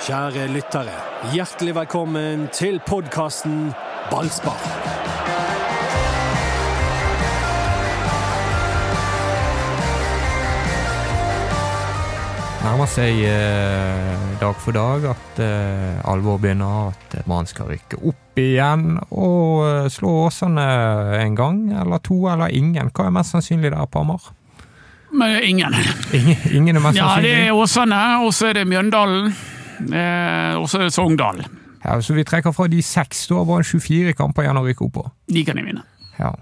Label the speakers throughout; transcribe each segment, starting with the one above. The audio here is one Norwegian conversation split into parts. Speaker 1: Kjære lyttere, hjertelig velkommen til podkasten Ballspar.
Speaker 2: nærmer seg eh, dag for dag at eh, alvor begynner, at Brann skal rykke opp igjen og eh, slå Åsane eh, en gang, eller to, eller ingen. Hva er mest sannsynlig der på Hamar?
Speaker 3: Men ingen.
Speaker 2: Ingen, ingen er mest
Speaker 3: Ja, det
Speaker 2: sannsynlig.
Speaker 3: er Åsane, og så er det Mjøndalen. Eh, og så er det Sogndal.
Speaker 2: Ja, så vi trekker fra de seks. Da har Brann 24 kamper igjen å rykke opp på.
Speaker 3: De kan jeg vinne.
Speaker 2: Ja.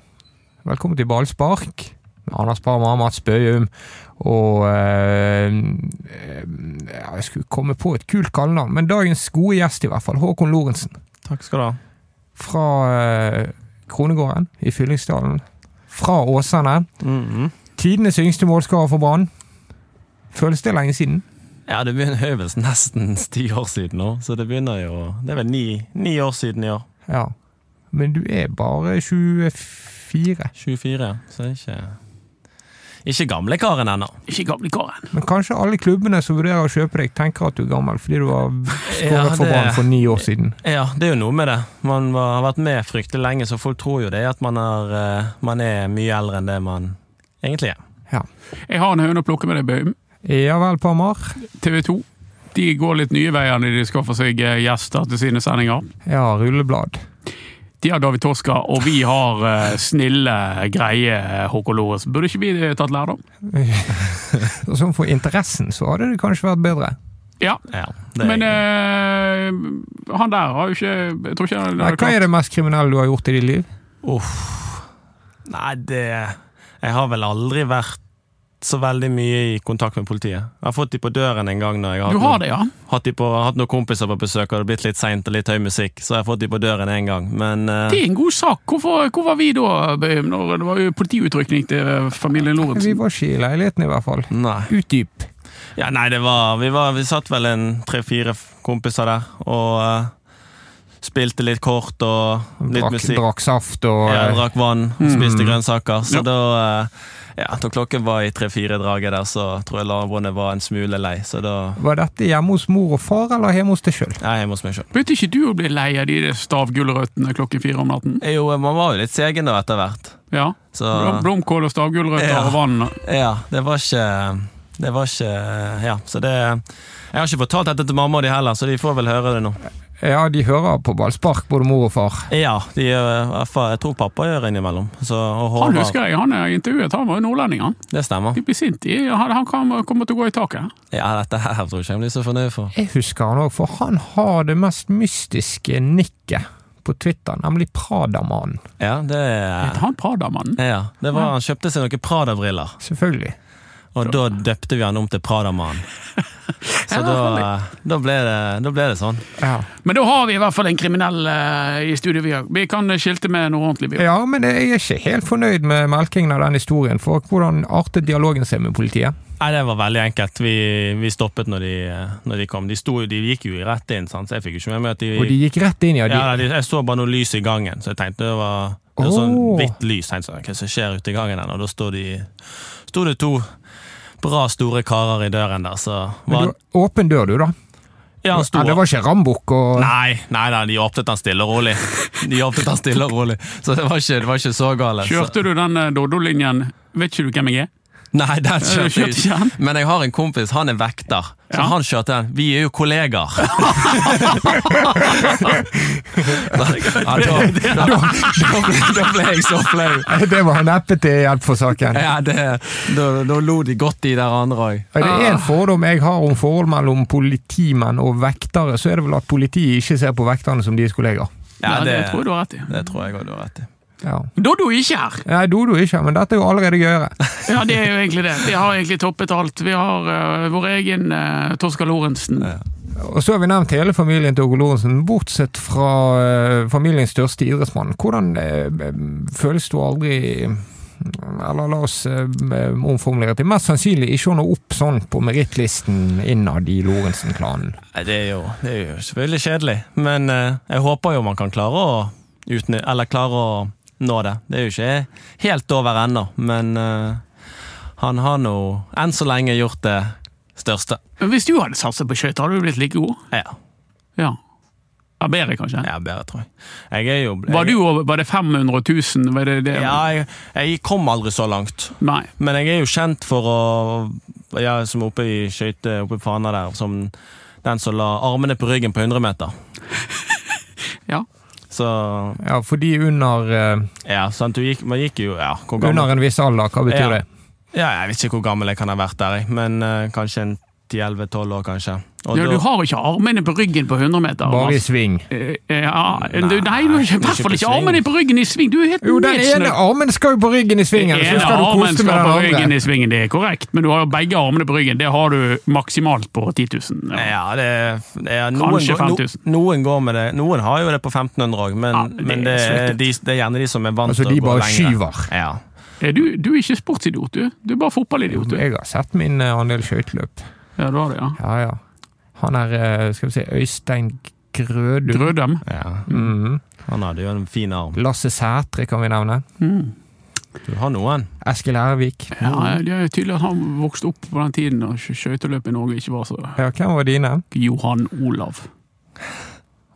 Speaker 2: Velkommen til Ballspark. med Anders Parma, Mats Bøhum og eh, eh, ja, Jeg skulle komme på et kult kallenavn, men dagens gode gjest i hvert fall, Håkon Lorentzen.
Speaker 4: Takk skal du ha.
Speaker 2: fra eh, Kronegården i Fyllingsdalen. Fra Åsane. Tidenes yngste målskårer for Brann. Føles det lenge siden?
Speaker 4: Ja, det begynner det er vel nesten ti år siden nå, så det begynner jo Det er vel ni, ni år siden i år.
Speaker 2: Ja. Men du er bare 24.
Speaker 4: 24, så det er ikke Ikke gamle karen ennå.
Speaker 3: Ikke gamlekaren.
Speaker 2: Men kanskje alle klubbene som vurderer å kjøpe deg, tenker at du er gammel fordi du har skåret
Speaker 4: Ja,
Speaker 2: for
Speaker 4: det-
Speaker 2: Brann for ni år siden.
Speaker 4: Ja, det er jo noe med det. Man var, har vært med fryktelig lenge, så folk tror jo det at man er, eh, man er mye eldre enn det man egentlig er.
Speaker 3: Jeg har en høne å plukke med deg, Bøhm.
Speaker 2: Ja vel, Pamar.
Speaker 3: TV 2. De går litt nye veier når de skaffer seg eh, gjester til sine sendinger.
Speaker 2: Ja, rulleblad.
Speaker 3: De har David Toska, og vi har eh, snille, greie eh, Håkon Lorentz. Burde ikke vi eh, tatt lærdom?
Speaker 2: Og Sånn for interessen så hadde det kanskje vært bedre.
Speaker 3: Ja,
Speaker 4: Ja, det er
Speaker 3: men
Speaker 4: jeg.
Speaker 3: eh, han der har jo ikke Jeg tror ikke han
Speaker 2: Nei, hva er det mest kriminelle du har gjort i ditt liv?
Speaker 4: Nei, det Jeg har vel aldri vært så veldig mye i kontakt med politiet. Jeg har fått de på døren en gang når jeg har
Speaker 3: Du
Speaker 4: hatt noen-
Speaker 3: har det, ja?
Speaker 4: hatt, de på, hatt noen kompiser på besøk, og det har blitt litt seint og litt høy musikk, så jeg har fått de på døren én gang. Men eh,
Speaker 3: Det er en god sak. Hvorfor, hvor var vi da, Bøhm, når det var jo politiutrykning til eh, familien Lorentz?
Speaker 2: Vi var ikke i leiligheten i hvert fall.
Speaker 4: nei.
Speaker 2: Utdyp.
Speaker 4: Ja, nei, det var Vi, var, vi satt vel en tre-fire f- kompiser der og eh, spilte litt kort og litt
Speaker 2: Drakk,
Speaker 4: musikk.
Speaker 2: drakk saft og
Speaker 4: Ja,
Speaker 2: eh,
Speaker 4: drakk vann og spiste grønnsaker. Så
Speaker 3: Ja.
Speaker 4: da eh, ja, da klokken var i tre-fire draget der, så tror jeg naboene var en smule lei. Så da
Speaker 2: Var dette hjemme hos mor og far, eller hjemme hos deg sjøl?
Speaker 4: Jeg er hjemme hos meg sjøl.
Speaker 3: Begynte ikke du å bli lei av de stavgulrøttene klokken fire om natten?
Speaker 4: Jo, man var jo litt segen da etter hvert.
Speaker 3: Ja.
Speaker 4: Så
Speaker 3: Blom- Blomkål og stavgulrøtter
Speaker 4: Ja.
Speaker 3: og vann.
Speaker 4: ja, det var ikke Det var ikke Ja, så det Jeg har ikke fortalt dette til mamma og de heller, så de får vel høre det nå.
Speaker 2: Ja, de hører på ballspark, både mor og far.
Speaker 4: Ja, de gjør, i hvert fall- jeg tror pappa gjør innimellom. Så, og
Speaker 3: Han
Speaker 4: Håvard.
Speaker 3: husker jeg, han jeg intervjuet, han var jo nordlending, han.
Speaker 4: Det stemmer.
Speaker 3: De blir sint. i- Han, han kan- kommer til å gå i taket.
Speaker 4: Ja, dette her tror jeg ikke han blir så fornøyd for.
Speaker 2: Jeg husker han òg, for han har det mest mystiske nikket på Twitter, nemlig Pradamannen.
Speaker 4: Ja, det
Speaker 3: Heter han Pradamannen?
Speaker 4: ja, det var, Han kjøpte seg noen Prada-briller,
Speaker 2: Selvfølgelig.
Speaker 4: og da døpte vi han om til Pradamann. Så da, eh, da, ble det, da ble det sånn.
Speaker 2: Ja,
Speaker 3: Men da har vi i hvert fall en kriminell eh, i studio. Vi, har. vi kan skilte med noe ordentlig. Vi.
Speaker 2: ja men jeg er ikke helt fornøyd med melkingen av den historien, for hvordan artet dialogen seg med politiet?
Speaker 4: Nei, Det var veldig enkelt. Vi, vi stoppet når de, når de kom. De, sto, jo- de gikk jo rett inn, sant? så jeg fikk jo ikke med meg at de,
Speaker 2: Og de gikk rett inn, ja. De,
Speaker 4: ja, nei, de Jeg så bare noe lys i gangen, så jeg tenkte det var det var sånn
Speaker 2: Åh.
Speaker 4: hvitt lys. tenkte jeg, Hva som skjer ute i gangen her? nå? Da sto, de, sto det to bra store karer i døren der, så
Speaker 2: men
Speaker 4: var,
Speaker 2: du, åpen dør, du, da.
Speaker 4: Ja, han sto
Speaker 2: Ja, det var ikke Rambukk og
Speaker 4: Nei, nei, nei, de åpnet den stille og rolig. De åpnet den stille og rolig, så det var ikke, det var ikke så galt.
Speaker 3: Kjørte du den eh, Doddo-linjen? Vet ikke du hvem jeg er?
Speaker 4: Så, nei, den
Speaker 3: du
Speaker 4: kjørte
Speaker 3: kjørte ikke
Speaker 4: jeg
Speaker 3: den?
Speaker 4: ut. Men jeg har en kompis, han er vekter, så
Speaker 3: Ja.
Speaker 4: han kjørte den. Vi er jo kollegaer. da, ja, da, da, da, ble, da ble jeg så flau.
Speaker 2: Det var neppe til hjelp for saken.
Speaker 4: Ja, det, da, da lo de godt, de der andre òg.
Speaker 2: Er det én fordom jeg har om forhold mellom politimenn og vektere, så er det vel at politiet ikke ser på vekterne som deres kollegaer.
Speaker 4: Ja,
Speaker 3: Nei, det,
Speaker 4: det,
Speaker 3: tror jeg du har rett i.
Speaker 4: det tror jeg òg du har rett i.
Speaker 2: Ja.
Speaker 3: Doddo er ikke her!
Speaker 2: Nei, Dodo ikke, men dette er jo allerede gøyere.
Speaker 3: Ja, det er jo egentlig det. Vi har egentlig toppet alt. Vi har eh, vår egen uh, Toska Lorentzen.
Speaker 2: Og så har vi nevnt hele familien til Åge Lorentzen, bortsett fra eh, familiens største idrettsmann. Hvordan eh, eh, føles du aldri eller la oss eh, omformulere til mest sannsynlig ikke å nå opp sånn på merittlisten innad i Lorentzen-klanen.
Speaker 4: Nei, det er, jo, det er jo selvfølgelig kjedelig, men eh, jeg håper jo man kan klare å, utny eller klare å nå det. Det er jo ikke helt over ennå, men eh, han har nå enn så lenge gjort det Største.
Speaker 3: Men Hvis du hadde satset på skøyter, hadde du blitt like god?
Speaker 4: Ja.
Speaker 3: Ja. ja bedre, kanskje?
Speaker 4: ja, bedre, tror jeg. Jeg er jo jeg,
Speaker 3: Var, du, over- var det 500 000? Var det det?
Speaker 4: Ja, jeg, jeg kom aldri så langt.
Speaker 3: Nei.
Speaker 4: Men jeg er jo kjent for å Ja, som oppe i skøyte oppe i Fana der, som den som la armene på ryggen på 100 meter.
Speaker 3: Ja.
Speaker 4: Så
Speaker 2: Ja, for de under, eh,
Speaker 4: Ja, sant, du gikk, man gikk jo Ja, hvor gammel
Speaker 2: under en viss alder, hva betyr
Speaker 4: Ja.
Speaker 2: det?
Speaker 4: Ja, jeg vet ikke hvor gammel jeg kan ha vært der, jeg, men eh, kanskje en 10-11-12 år, kanskje. Og
Speaker 3: ja,
Speaker 4: da-
Speaker 3: du har ikke armene på ryggen på 100 meter.
Speaker 2: Bare i
Speaker 3: Mats.
Speaker 2: sving.
Speaker 3: Eh, Ja, du, nei, du har ikke- i hvert fall
Speaker 4: på
Speaker 3: ikke
Speaker 4: sving.
Speaker 3: armene på ryggen i sving! Du er helt
Speaker 2: Jo, den ene
Speaker 3: nedsnødd.
Speaker 2: armen skal jo på ryggen i svingen, så
Speaker 3: Ene
Speaker 2: skal du
Speaker 3: armen
Speaker 2: kose
Speaker 3: skal på
Speaker 2: med den
Speaker 3: ryggen
Speaker 2: andre.
Speaker 3: i svingen, det er korrekt, men du har jo begge armene på ryggen. Det har du maksimalt på 10 000. Ja.
Speaker 4: Ja, det, det er, noen,
Speaker 3: Kanskje
Speaker 4: går, no,
Speaker 3: 5000.
Speaker 4: noen går med det. Noen har jo det på 1500 òg, men,
Speaker 3: Ja, det
Speaker 4: men
Speaker 3: er
Speaker 4: det, er
Speaker 3: slittent.
Speaker 4: de, det er gjerne de som er vant
Speaker 2: Altså,
Speaker 4: til
Speaker 2: de
Speaker 4: å gå
Speaker 2: bare
Speaker 4: lenger.
Speaker 2: skyver.
Speaker 4: Ja.
Speaker 3: Eh, Du, du er ikke sportsidiot, du. Du er bare fotballidiot. Du.
Speaker 2: Jeg har sett min eh, andel skøyteløp.
Speaker 3: Ja, du har det, ja.
Speaker 2: Ja, ja. Han er, eh, skal vi si, Øystein Grødum.
Speaker 3: Grødem.
Speaker 4: ja.
Speaker 2: Mhm.
Speaker 4: Han hadde jo en fin arm.
Speaker 2: Lasse Sætre kan vi nevne.
Speaker 3: Mm.
Speaker 4: Du har noen.
Speaker 2: Eskil Ervik.
Speaker 3: Ja, det er tydelig at han vokste opp på den tiden da skø- skøyteløp i Norge ikke var så
Speaker 2: Ja, hvem var dine?
Speaker 3: Johan Olav.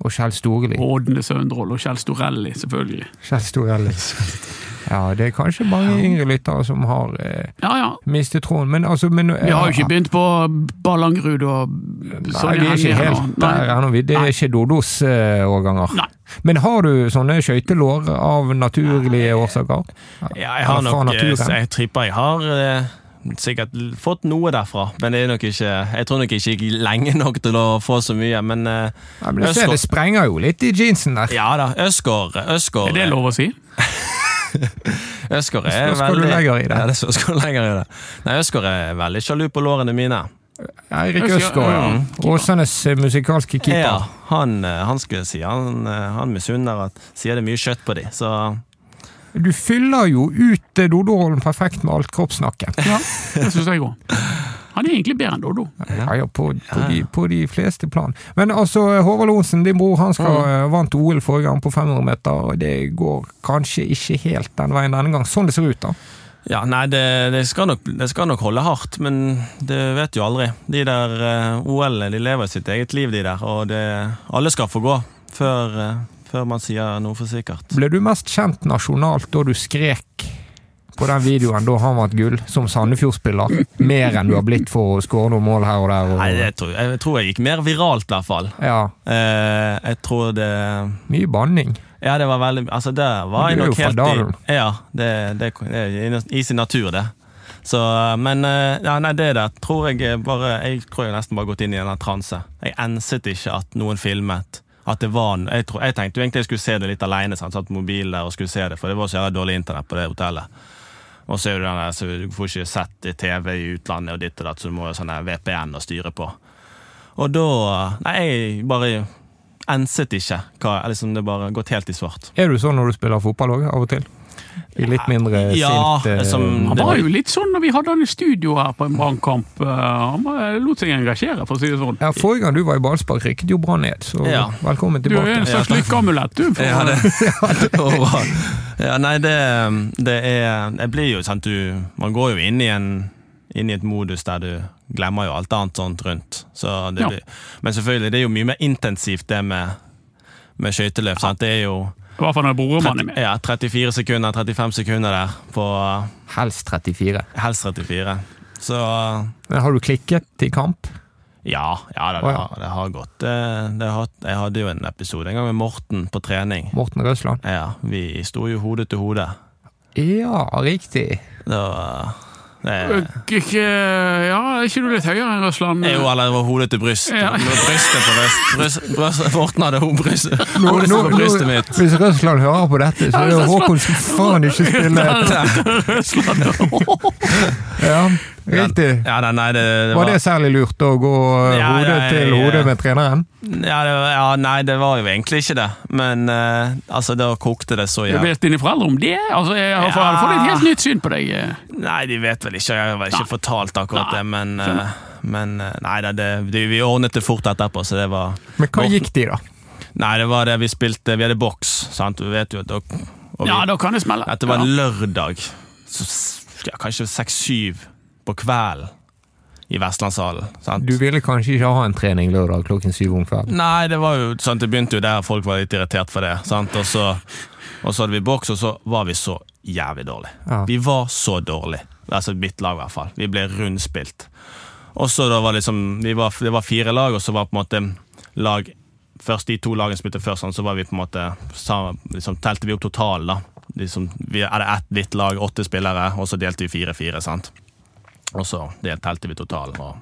Speaker 2: Og Kjell Storli.
Speaker 3: Ådne Søndrål og Kjell Storelli, selvfølgelig.
Speaker 2: Kjell Storli. Ja, det er kanskje mange yngre lyttere som har eh,
Speaker 3: Ja, ja.
Speaker 2: mistet troen, men altså men,
Speaker 3: Vi har jo ikke begynt på Ballangrud og
Speaker 2: Nei, vi er ikke helt der ennå. vi. Det
Speaker 3: Nei.
Speaker 2: er ikke Dodos eh, årganger.
Speaker 3: Nei.
Speaker 2: Men har du sånne skøytelår av naturlige årsaker?
Speaker 4: Ja, jeg har
Speaker 2: Eller fra
Speaker 4: nok eh,
Speaker 2: naturen?
Speaker 4: Jeg tripper jeg har eh, sikkert l- fått noe derfra, men det er nok ikke Jeg tror nok ikke jeg gikk lenge nok til å få så mye, men eh,
Speaker 2: Nei, men du ser,
Speaker 4: Østfold-
Speaker 2: det sprenger jo litt i jeansen der.
Speaker 4: ja da. Øsgaard Øsgaard
Speaker 3: Er det lov å si?
Speaker 4: Øsgaard
Speaker 2: Det
Speaker 4: eh, er
Speaker 2: spørs hva du
Speaker 4: veldig
Speaker 2: legger i det.
Speaker 4: Ja, det spørs hva du legger i det. Nei, Øsgaard er veldig sjalu på lårene mine.
Speaker 2: Eirik
Speaker 3: Østgaard,
Speaker 2: Østgaard, ja.
Speaker 3: ja.
Speaker 2: Åsenes eh, musikalske keeper.
Speaker 4: Mm. Ja, han, eh, han skulle si Han, eh, han misunner at sier det er mye kjøtt på de, så
Speaker 2: Du fyller jo ut eh, Dodorollen perfekt med alt kroppssnakket.
Speaker 3: Ja, det syns jeg òg. Han er egentlig bedre enn Doddo.
Speaker 2: Ja, ja, på, på, de, på de fleste plan. Men altså, Håvard Lorentzen, din bror, han skal,
Speaker 4: Mm.
Speaker 2: eh, vant OL forrige gang på 500 meter, og det går kanskje ikke helt den veien denne gang. Sånn det ser ut, da.
Speaker 4: Ja, nei, det, det, skal nok, det skal nok holde hardt, men det vet jo aldri. De der eh, OL-ene, de lever sitt eget liv, de der, og det, alle skal få gå før, eh, før man sier noe for sikkert.
Speaker 2: Ble du mest kjent nasjonalt da du skrek på den videoen da han vant gull, som Sandefjord-spiller? Mer enn du har blitt for å skåre noen mål her og der? Og,
Speaker 4: Nei, det tror, jeg jeg tror jeg gikk mer viralt, i hvert fall.
Speaker 2: Ja,
Speaker 4: Eh, jeg tror det
Speaker 2: mye banning.
Speaker 4: Ja, det var veldig Altså, der var jeg
Speaker 2: Men du er
Speaker 4: nok
Speaker 2: jo fra
Speaker 4: helt i
Speaker 2: Dalen.
Speaker 4: Ja, det, det, det er i sin natur, det. Så, men eh, ja, nei, det der tror jeg eh, bare Jeg tror jeg nesten bare har gått inn i en eller annen transe. Jeg enset ikke at noen filmet. At det var en- jeg, tror, jeg tenkte jo egentlig jeg skulle se det litt aleine. Satt på mobilen der og skulle se det, for det var så jævla dårlig internett på det hotellet. Og så er det den der, så du får ikke sett i TV i utlandet og ditt og datt, så du må jo sånn der VPN å styre på. Og da eh, Nei, jeg bare enset ikke. Hva, liksom det bare gått helt i svart.
Speaker 2: Er du sånn når du spiller fotball òg, av og til? I litt mindre
Speaker 4: Ja,
Speaker 2: sint eh,
Speaker 4: som-
Speaker 3: Han
Speaker 4: Det
Speaker 3: var
Speaker 4: var-
Speaker 3: jo litt sånn når vi hadde han i studio her på en brannkamp. eh, Han var- lot seg engasjere, for å si det sånn.
Speaker 2: ja, Forrige gang du var i ballspark, rykket jo Brann ned, så
Speaker 4: Ja.
Speaker 2: velkommen
Speaker 3: Du er en
Speaker 2: tilbake.
Speaker 3: slags
Speaker 4: Ja, takk.
Speaker 3: lykkeamulett, du. For,
Speaker 4: Ja, det går bra. Ja, nei, det, det er Det blir jo sant, du Man går jo inn i en inn i et modus der du glemmer jo alt annet sånt rundt. Så det
Speaker 3: Ja.
Speaker 4: blir, men selvfølgelig, det er jo mye mer intensivt det med, med skøyteløp. sant? Det er jo
Speaker 3: I hvert fall når brormannen er med.
Speaker 4: ja, 34 sekunder, 35 sekunder der på
Speaker 2: Helst 34.
Speaker 4: helst 34. Så
Speaker 2: Men har du klikket i kamp?
Speaker 4: ja, ja da,
Speaker 2: Å,
Speaker 4: det,
Speaker 2: ja.
Speaker 4: har, det har gått. Det, det har, jeg hadde jo en episode en gang med Morten på trening.
Speaker 2: Morten Røsland?
Speaker 4: Ja, Vi sto jo hode til hode.
Speaker 2: Ja, riktig.
Speaker 4: Det var det,
Speaker 3: Eh, Ikke, ja, er ikke du litt høyere enn Røsland?
Speaker 4: Jo, eller det var hodet til bryst.
Speaker 3: Ja.
Speaker 4: Det var Brystet på bryst. bryst, bryst Morten hadde ho- bryst, hodet
Speaker 2: Nå-
Speaker 4: på
Speaker 2: nå-
Speaker 4: brystet mitt.
Speaker 2: Hvis Røsland hører på dette, så er det Håkon som faen ikke spiller.
Speaker 3: Røsland.
Speaker 2: Ja, riktig.
Speaker 4: Ja, nei, nei, det, det
Speaker 2: Var
Speaker 4: var,
Speaker 2: det særlig lurt å gå eh,
Speaker 4: Ja,
Speaker 2: hode
Speaker 4: ja,
Speaker 2: til
Speaker 4: ja.
Speaker 2: hode med treneren?
Speaker 4: ja, det, var- ja, nei, det var jo egentlig ikke det. Men eh, altså, da kokte det så
Speaker 3: Jeg
Speaker 4: jævlig.
Speaker 3: vet dine foreldre om det? Altså, jeg har fått jeg får et helt nytt syn på deg. eh.
Speaker 4: Nei, de vet vel ikke. Jeg har vel ikke fortalt akkurat
Speaker 3: Nei.
Speaker 4: det, men, eh, men eh, Nei da, det, det, vi ordnet det fort etterpå, så det var
Speaker 2: Men hva
Speaker 4: Morten-
Speaker 2: gikk de, da?
Speaker 4: Nei, det var det vi spilte Vi hadde boks, sant. Du vet jo at dere og vi-
Speaker 3: Ja, da kan det smelle.
Speaker 4: Dette var en lørdag, så, s- ja, kanskje seks-syv på kvelden. i Vestlandshallen. sant?
Speaker 2: Du ville kanskje ikke ha en trening lørdag klokken syv om kvelden?
Speaker 4: Nei, det var jo sant, det begynte jo der folk var litt irritert for det. Sant? Og, så, og så hadde vi boks, og så var vi så jævlig dårlig.
Speaker 2: Ja.
Speaker 4: Vi var så dårlig. Altså mitt lag, i hvert fall. Vi ble rundspilt. Og så da var liksom, vi var, Det var fire lag, og så var på en måte lag Først de to lagene spilte først, sånn, så var vi på en måte sa- liksom, telte vi opp totalen. da. Liksom, vi hadde ett hvitt lag, åtte spillere, og så delte vi fire-fire. sant? Og så del- telte vi totalen. Og,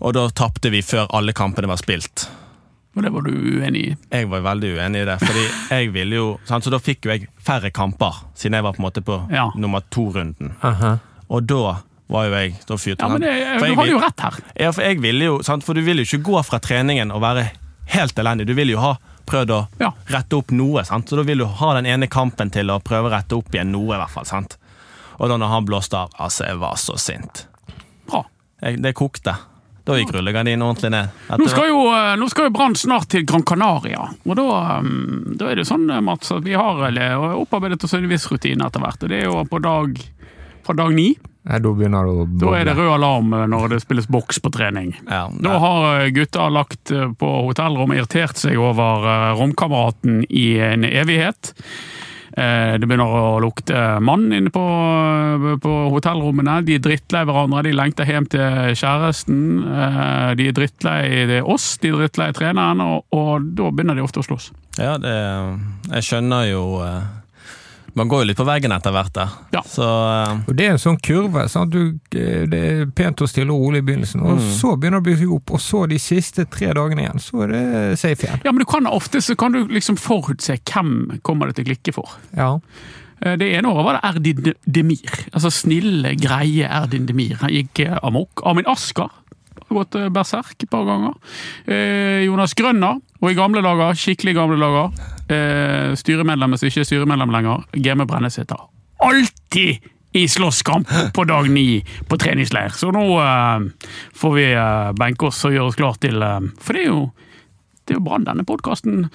Speaker 4: og da tapte vi før alle kampene var spilt.
Speaker 3: Og det var du uenig i.
Speaker 4: Jeg var veldig uenig i det, fordi jeg ville jo sant? Så da fikk jo jeg færre kamper, siden jeg var på en måte på
Speaker 3: Ja.
Speaker 4: nummer to-runden.
Speaker 2: Aha.
Speaker 4: Og da var jo jeg Da fyrte
Speaker 3: Ja, men
Speaker 4: han.
Speaker 3: det, Du
Speaker 4: For jeg
Speaker 3: har jo
Speaker 4: vil-
Speaker 3: rett her.
Speaker 4: Ja, for jeg ville jo sant? For du vil jo ikke gå fra treningen og være helt elendig. Du vil jo ha prøvd å
Speaker 3: Ja.
Speaker 4: rette opp noe, sant? så da vil du ha den ene kampen til å prøve å rette opp igjen noe, i hvert fall. sant? Og da når han blåste av Altså, jeg var så sint.
Speaker 3: Bra.
Speaker 4: Jeg, det kokte. Da gikk rullegardinen ordentlig ned. Etter-
Speaker 3: Nå skal jo, eh, nå skal jo Brann snart til Gran Canaria. Og da, eh, da er det jo sånn, eh, Mats, at vi har eller, opparbeidet oss en viss rutine etter hvert. Og det er jo på dag, fra dag ni.
Speaker 2: Nei, da begynner det å
Speaker 3: Da er
Speaker 2: boble.
Speaker 3: det rød alarm eh, når det spilles boks på trening.
Speaker 4: ja,
Speaker 3: Da
Speaker 4: nei.
Speaker 3: har eh, gutta lagt eh, på hotellrommet irritert seg over eh, romkameraten i en evighet. Eh, Det begynner å lukte mann inne på, eh, på hotellrommene. De er drittlei hverandre, de lengter hjem til kjæresten. Eh, De er drittlei det er oss, de er drittlei treneren, og, og da begynner de ofte å slåss.
Speaker 4: Ja, det, jeg skjønner jo eh, Man går jo litt på veggen etter hvert der.
Speaker 3: Ja.
Speaker 4: Så eh,
Speaker 2: Og Det er en sånn kurve. Sant? Du, eh, det er pent og stille og rolig i begynnelsen, og så begynner det å bygge seg opp. Og så de siste tre dagene igjen, så er det safe igjen.
Speaker 3: Ja, men du kan ofte så kan du liksom forutse hvem kommer det til å klikke for.
Speaker 2: Ja.
Speaker 3: Eh, Det ene året var det Erdin De- Demir. Altså snille, greie Erdin Demir. Han gikk eh, amok. Armin Asker har gått eh, berserk et par ganger. Eh, Jonas Grønner, og i gamle dager, skikkelig gamle dager, eh, styremedlem som ikke er styremedlem lenger, Game Brennesæter. Alltid i slåsskamp på dag ni på treningsleir. Så nå eh, får vi eh, benke oss og gjøre oss klar til eh, For det er jo, det er jo Brann denne podkasten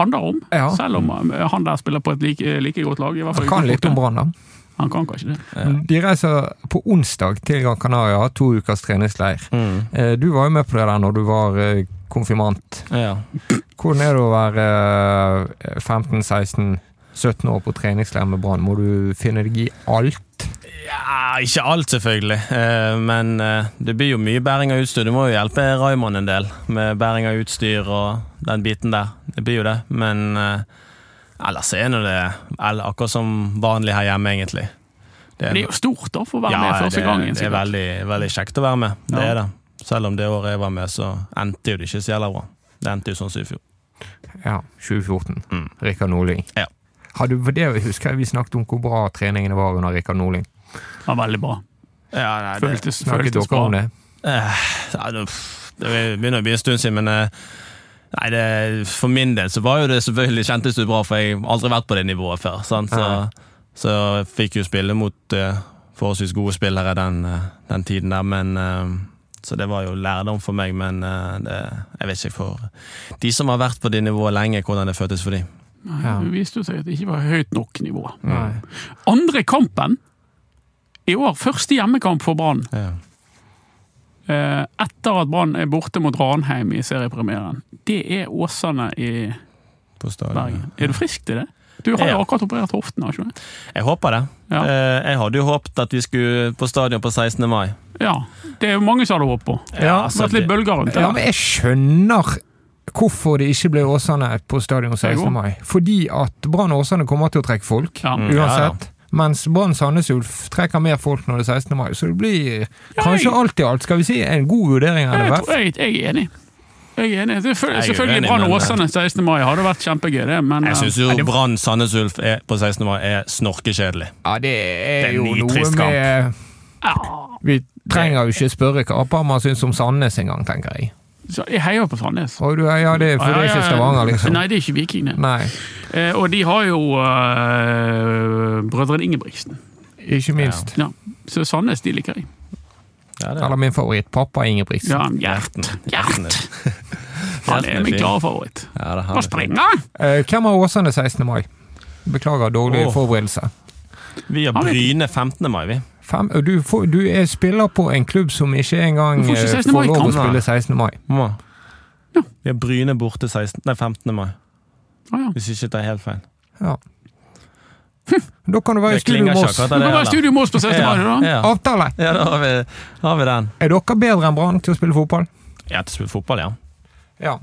Speaker 3: handler om.
Speaker 2: Ja.
Speaker 3: Selv om eh, han der spiller på et like, like godt lag. i hvert fall
Speaker 2: Jeg kan litt om Brann, da. Mm.
Speaker 3: han kan kanskje det.
Speaker 2: De reiser på onsdag til Gran Canaria, har to ukers treningsleir. Eh, Du var jo med på det der når du var eh, konfirmant.
Speaker 4: ja.
Speaker 2: Hvordan er det å være eh, 15-16-17 år på treningsleir med Brann? Må du finne deg i alt?
Speaker 4: ja Ikke alt, selvfølgelig, eh, men eh, det blir jo mye bæring av utstyr. Du må jo hjelpe Raymond en del med bæring av utstyr og den biten der. Det blir jo det, men eh, ellers er nå det eller, akkurat som vanlig her hjemme, egentlig. Det
Speaker 3: Men Det er jo stort da, for å være med første
Speaker 4: det,
Speaker 3: gangen.
Speaker 4: det er
Speaker 3: sikkert.
Speaker 4: veldig, veldig kjekt å være med. Det
Speaker 3: Ja.
Speaker 4: er det. Selv om det året jeg var med, så endte jo det ikke så jævla bra. Det endte jo sånn som i fjor.
Speaker 2: Ja, 2014.
Speaker 4: Mm.
Speaker 2: Rikard Nordling.
Speaker 4: Ja.
Speaker 2: Har du, for det husker jeg vi snakket om hvor bra treningene var under Rikard Nordling.
Speaker 3: Ja, veldig bra.
Speaker 4: Ja, nei, det-
Speaker 3: Føltes,
Speaker 2: Snakket
Speaker 3: føltes
Speaker 2: dere om
Speaker 3: bra.
Speaker 2: det?
Speaker 4: Eh, ja, det, pff, det begynner å bli en stund siden, men eh, nei, det, for min del så var jo det selvfølgelig kjentes det bra, for jeg har aldri vært på det nivået før. Sant?
Speaker 2: Ja.
Speaker 4: Så, så jeg fikk jo spille mot eh, forholdsvis gode spillere den, eh, den tiden der, men eh, så det var jo lærdom for meg, men eh, det, jeg vet ikke for de som har vært på det nivået lenge, hvordan det føltes for dem.
Speaker 3: Nei,
Speaker 2: Ja.
Speaker 3: Det viste jo seg at det ikke var høyt nok nivå.
Speaker 2: Nei.
Speaker 3: Andre kampen i år, første hjemmekamp for Brann, eh, etter at Brann er borte mot Ranheim i seriepremieren, det er Åsane i
Speaker 4: På stadion.
Speaker 3: Bergen. Er du frisk til det? Du har
Speaker 4: Ja.
Speaker 3: jo akkurat operert hoften, har ikke du?
Speaker 4: Jeg håper det.
Speaker 3: Ja.
Speaker 4: Eh, Jeg hadde jo håpet at vi skulle på stadion på 16. mai.
Speaker 3: ja. Det er jo mange som hadde håp på.
Speaker 4: Ja,
Speaker 3: Det har vært litt bølger rundt
Speaker 2: Ja,
Speaker 3: det.
Speaker 2: men jeg skjønner hvorfor det ikke ble Åsane på stadion 16.
Speaker 3: Jeg
Speaker 2: mai. Fordi at Brann og Åsane kommer til å trekke folk,
Speaker 3: Ja.
Speaker 4: Mm.
Speaker 2: uansett. Mens Brann Sandnes Ulf trekker mer folk når det er 16. mai, så det blir kanskje
Speaker 3: jeg-
Speaker 2: alt i alt, skal vi si, en god vurdering av det
Speaker 3: Jeg,
Speaker 2: verste.
Speaker 3: tror- jeg, jeg er enig. Jeg er enig. Det er
Speaker 4: Jeg er
Speaker 3: selvfølgelig selvfølgelig
Speaker 4: uenig,
Speaker 3: Brann og
Speaker 4: men-
Speaker 3: Åsane 16. mai hadde vært kjempegøy, det, men
Speaker 4: Jeg
Speaker 3: eh,
Speaker 4: syns jo
Speaker 2: Nei, det-
Speaker 4: Brann Sandnes Ulf er- på 16. mai er snorkekjedelig.
Speaker 2: Ja, det er
Speaker 4: Det er
Speaker 2: jo
Speaker 4: en ny
Speaker 2: noe
Speaker 4: trist kamp.
Speaker 2: med
Speaker 3: ja,
Speaker 2: Vi trenger jo ikke spørre hva Apama syns om Sandnes engang, tenker jeg.
Speaker 3: Så jeg heier på Sandnes.
Speaker 2: Og du, ja, det, for det er ikke Stavanger, liksom.
Speaker 3: Nei, det er ikke Vikingene.
Speaker 2: Nei,
Speaker 3: Eh, og de har jo eh, brødrene Ingebrigtsen.
Speaker 2: ikke minst.
Speaker 3: Ja. Så Sandnes de liker jeg.
Speaker 4: Ja,
Speaker 2: Eller min favoritt, pappa Ingebrigtsen.
Speaker 3: Ja, Gjert. Gjert! Han er min klare favoritt.
Speaker 4: Ja, det er
Speaker 3: Hva
Speaker 4: herlig.
Speaker 3: springer!
Speaker 2: Eh, Hvem har Åsane 16. mai? Beklager, dårlig
Speaker 4: Åh.
Speaker 2: forberedelse.
Speaker 4: Vi har
Speaker 3: Han vet
Speaker 4: Bryne 15. mai, vi.
Speaker 2: Fem, og du, får, du er spiller på en klubb som ikke engang
Speaker 3: Du får ikke
Speaker 2: eh,
Speaker 3: 16.
Speaker 2: får lov å
Speaker 3: mai-kamp.
Speaker 2: spille 16. mai.
Speaker 4: Må.
Speaker 3: Ja.
Speaker 4: Vi har Bryne borte 16, nei, 15. mai,
Speaker 3: Ah, ja.
Speaker 4: hvis ikke det er helt feil.
Speaker 2: Ja. Da kan du være
Speaker 4: Det
Speaker 2: i studio
Speaker 4: klinger
Speaker 2: med
Speaker 4: ikke
Speaker 2: oss.
Speaker 4: akkurat
Speaker 3: Du kan
Speaker 4: av
Speaker 3: være
Speaker 4: det.
Speaker 3: i
Speaker 4: heller.
Speaker 3: Studio Mås på 16. mai, du, da.
Speaker 4: Ja, ja.
Speaker 2: Avtale!
Speaker 4: ja da har vi, har vi den.
Speaker 2: Er dere bedre enn Brann til å spille fotball?
Speaker 4: Jeg har ikke spilt fotball, ja.
Speaker 2: Ja.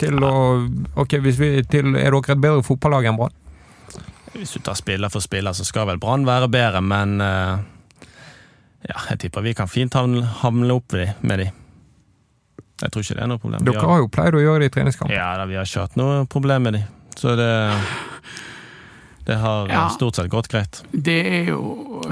Speaker 2: Til å Ok, hvis vi, til, er dere et bedre fotballag enn Brann?
Speaker 4: Hvis du tar spiller for spiller, så skal vel Brann være bedre, men eh, ja, jeg tipper vi kan fint hamle, hamle opp med de- med de. Jeg tror ikke det er noe problem. Vi
Speaker 2: Dere
Speaker 4: har,
Speaker 2: har jo pleid å gjøre det i treningskamp.
Speaker 4: ja, da, vi har ikke hatt noe problem med de, så det det har eh,
Speaker 3: Ja.
Speaker 4: stort sett gått greit.
Speaker 3: Det er jo